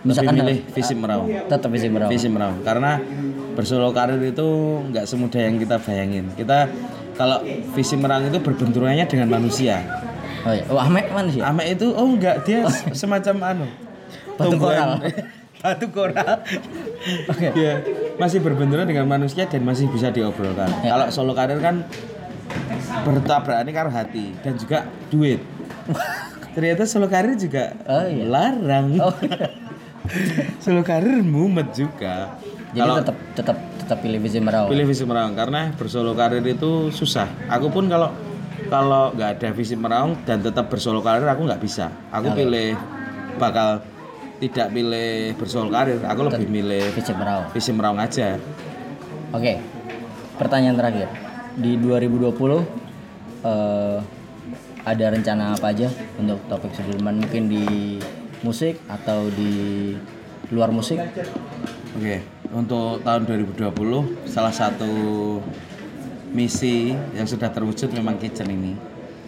A: Misalkan
B: Lebih milih visi meraung.
A: tetap visi merong.
B: Visi meraung. Karena bersolo karir itu nggak semudah yang kita bayangin. Kita kalau visi meraung itu berbenturannya dengan manusia.
A: Oh iya. Wah, Ahmed mana sih?
B: Ame itu oh enggak dia semacam anu
A: Batu
B: tumbuhan-
A: koral.
B: batu koral.
A: Oke.
B: Iya, masih berbenturan dengan manusia dan masih bisa diobrolkan.
A: Ya.
B: Kalau solo karir kan bertabrakan ini karo hati dan juga duit. Ternyata solo karir juga
A: Oh, iya.
B: larang.
A: Oh.
B: solo karir mumet juga.
A: Jadi
B: Kalau
A: tetap tetap tetap pilih visi merong.
B: pilih visi meraung karena bersolo karir itu susah. Aku pun kalau kalau nggak ada visi meraung dan tetap bersolo karir aku nggak bisa. Aku pilih bakal tidak pilih bersolo karir. Aku lebih milih
A: Visi merong.
B: visi meraung aja.
A: Oke, pertanyaan terakhir. Di 2020 eh, ada rencana apa aja untuk topik sebelumnya? Mungkin di musik atau di luar musik?
B: Oke, untuk tahun 2020 salah satu misi yang sudah terwujud memang kitchen ini.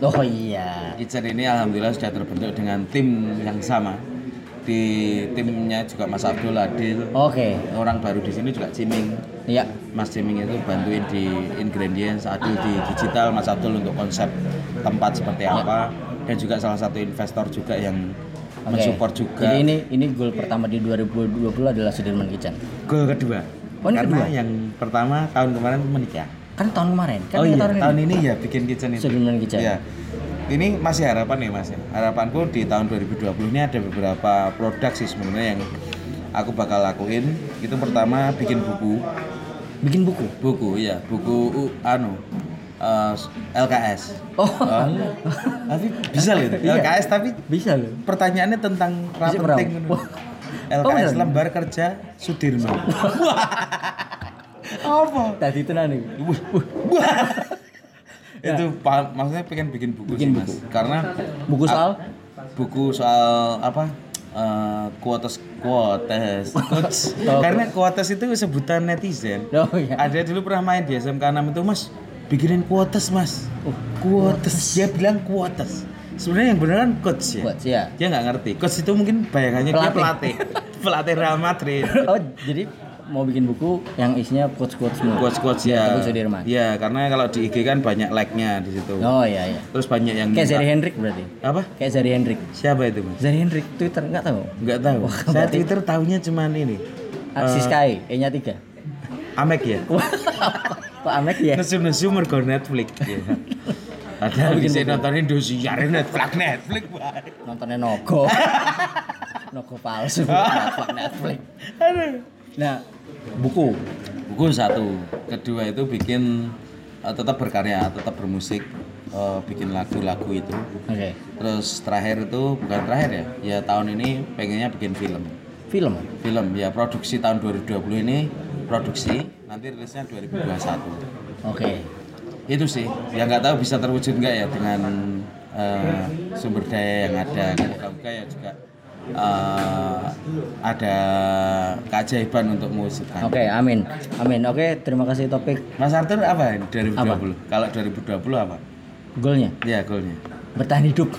A: Oh iya.
B: Kitchen ini alhamdulillah sudah terbentuk dengan tim yang sama. Di timnya juga Mas Abdul Adil,
A: Oke.
B: orang baru di sini juga Ciming.
A: Iya.
B: Mas Ciming itu bantuin di ingredients, Adil di digital, Mas Abdul untuk konsep tempat seperti
A: Ya.
B: apa dan juga salah satu investor juga yang
A: oke.
B: mensupport juga.
A: Jadi ini ini goal pertama di 2020 adalah Sudirman Kitchen.
B: goal kedua.
A: Oh, ini
B: Karena
A: kedua?
B: yang pertama tahun kemarin menikah.
A: Kan tahun kemarin, kan
B: oh
A: kita
B: iya,
A: tahun ini
B: tahun ini ya bikin kitchen itu.
A: Sudirman Kitchen.
B: Iya. Ini masih harapan nih Mas. ya. Harapanku di tahun 2020 ini ada beberapa produk sih sebenarnya yang aku bakal lakuin. Itu pertama bikin buku.
A: Bikin buku.
B: Buku ya, buku u- anu eh, LKS.
A: Oh,
B: Oh, tapi bisa loh itu.
A: Iya.
B: LKS tapi
A: bisa loh.
B: pertanyaannya tentang
A: meraup.
B: raporting
A: Wah. Oh,
B: LKS
A: beneran?
B: lembar kerja Sudirman. Apa?
A: Tadi itu nanti.
B: Wah, wah, wah. itu paham, maksudnya pengen bikin buku
A: Iya. Bikin
B: sih mas karena
A: Buku
B: Ah.
A: soal?
B: buku soal apa eh, quotes quotes quotes
A: Oh.
B: karena quotes itu sebutan netizen
A: Oh iya.
B: ada dulu pernah main di SMK 6 itu mas bikinin quotes mas
A: Oh,
B: quotes dia bilang quotes sebenarnya yang beneran coach ya
A: Buat ya.
B: dia nggak ngerti coach itu mungkin bayangannya dia
A: Pelatih.
B: pelatih pelatih Real Madrid
A: Oh, jadi mau bikin buku yang isinya quotes-quotes semua.
B: quotes-quotes ya
A: Tepuk Sudirman.
B: Iya, karena kalau di IG kan banyak like-nya di situ
A: Oh iya iya.
B: terus banyak yang
A: Kayak
B: minta-
A: Zari Hendrik berarti.
B: apa
A: Kayak Zari Hendrik.
B: siapa itu mas
A: Zari Hendrik Twitter nggak tahu.
B: nggak tahu saya twitter tahunya cuman ini
A: Aksi Ah, Sky, E-nya 3.
B: amek ya
A: Pak Amek ya.
B: nesu nesu mergo netflix ya. padahal bisa nontonin dosiar netflix netflix Pak.
A: Nontonnya Nogo. Nogo palsu. Pak Netflix. Nah, buku.
B: buku satu kedua itu bikin eh, tetap berkarya tetap bermusik eh, bikin lagu-lagu itu
A: Oke.
B: terus terakhir itu bukan terakhir ya ya tahun ini pengennya bikin film
A: Film.
B: film ya produksi tahun 2020 ini produksi nanti rilisnya 2021
A: Oke.
B: itu sih yang nggak tahu bisa terwujud nggak ya dengan eh, sumber daya yang ada moga-moga ya juga eh, ada keajaiban untuk mewujudkan
A: Oke, amin. Amin. Oke, terima kasih topik
B: Mas Arthur apa ini 2020 kalau 2020 apa
A: goalnya.
B: ya goalnya
A: bertahan hidup.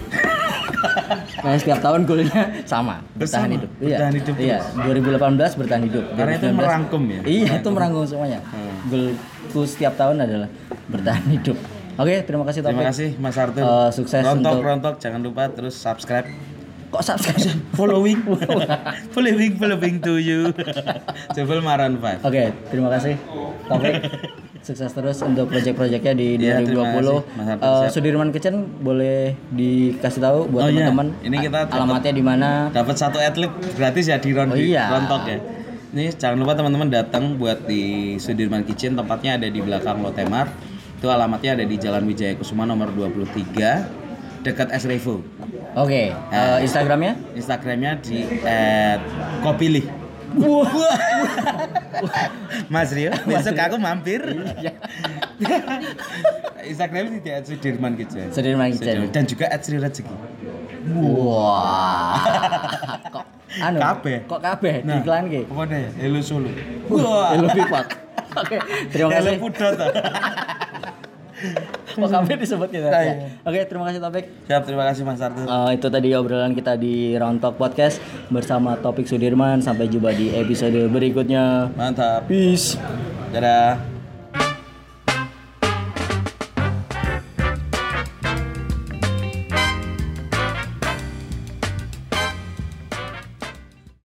A: Nah, setiap tahun goalnya sama, bertahan
B: Sama,
A: hidup.
B: bertahan hidup
A: Iya, 2018 bertahan hidup.
B: Karena itu
A: 2019
B: merangkum Hmm. ya?
A: Iya, itu merangkum semuanya. Goalku setiap tahun adalah bertahan hidup. Oke, terima kasih
B: terima
A: Topik.
B: kasih Mas Arthur
A: Eh, sukses
B: rontok
A: untuk-
B: rontok jangan lupa terus subscribe
A: Kok subscribe?
B: following following following to you Jebol Maroon 5
A: Oke, terima kasih Topik. Sukses terus untuk project-projectnya di
B: Iya, terima
A: 2020.
B: kasih, Mas Harto,
A: Eh,
B: siap.
A: Sudirman Kitchen boleh dikasih tahu buat
B: Oh, iya.
A: teman-teman
B: Ini kita
A: a- alamatnya di mana?
B: dapat satu atlet gratis ya di
A: Oh,
B: Ron
A: iya.
B: Rontok ya. Ini jangan lupa teman-teman datang buat di Sudirman Kitchen tempatnya ada di belakang Lotemar. Itu alamatnya ada di Jalan Wijaya Kusuma nomor 23 dekat Es Revo.
A: Oke, eh, Instagramnya?
B: Instagramnya di eh, @kopilih. Mas Rio, besok aku mampir.
A: Iya.
B: Instagramnya di at Sudirman Kitchen.
A: Sudirman Kitchen.
B: Sudirman. Dan juga at Sri Rezeki.
A: Wah. kok anu?
B: Kabeh.
A: Kok kabeh nah. diklan ki?
B: Pokoknya ya, Hello Solo.
A: Wah, lebih kuat. Oke, terima kasih.
B: Pudot.
A: Kok kami disebut gitu
B: Nah, iya.
A: ya. Oke, terima kasih Topik.
B: Siap, terima kasih Mas Arthur.
A: Eh, itu tadi obrolan kita di Round Talk Podcast bersama Topik Sudirman. Sampai jumpa di episode berikutnya.
B: Mantap.
A: Peace.
B: Dadah.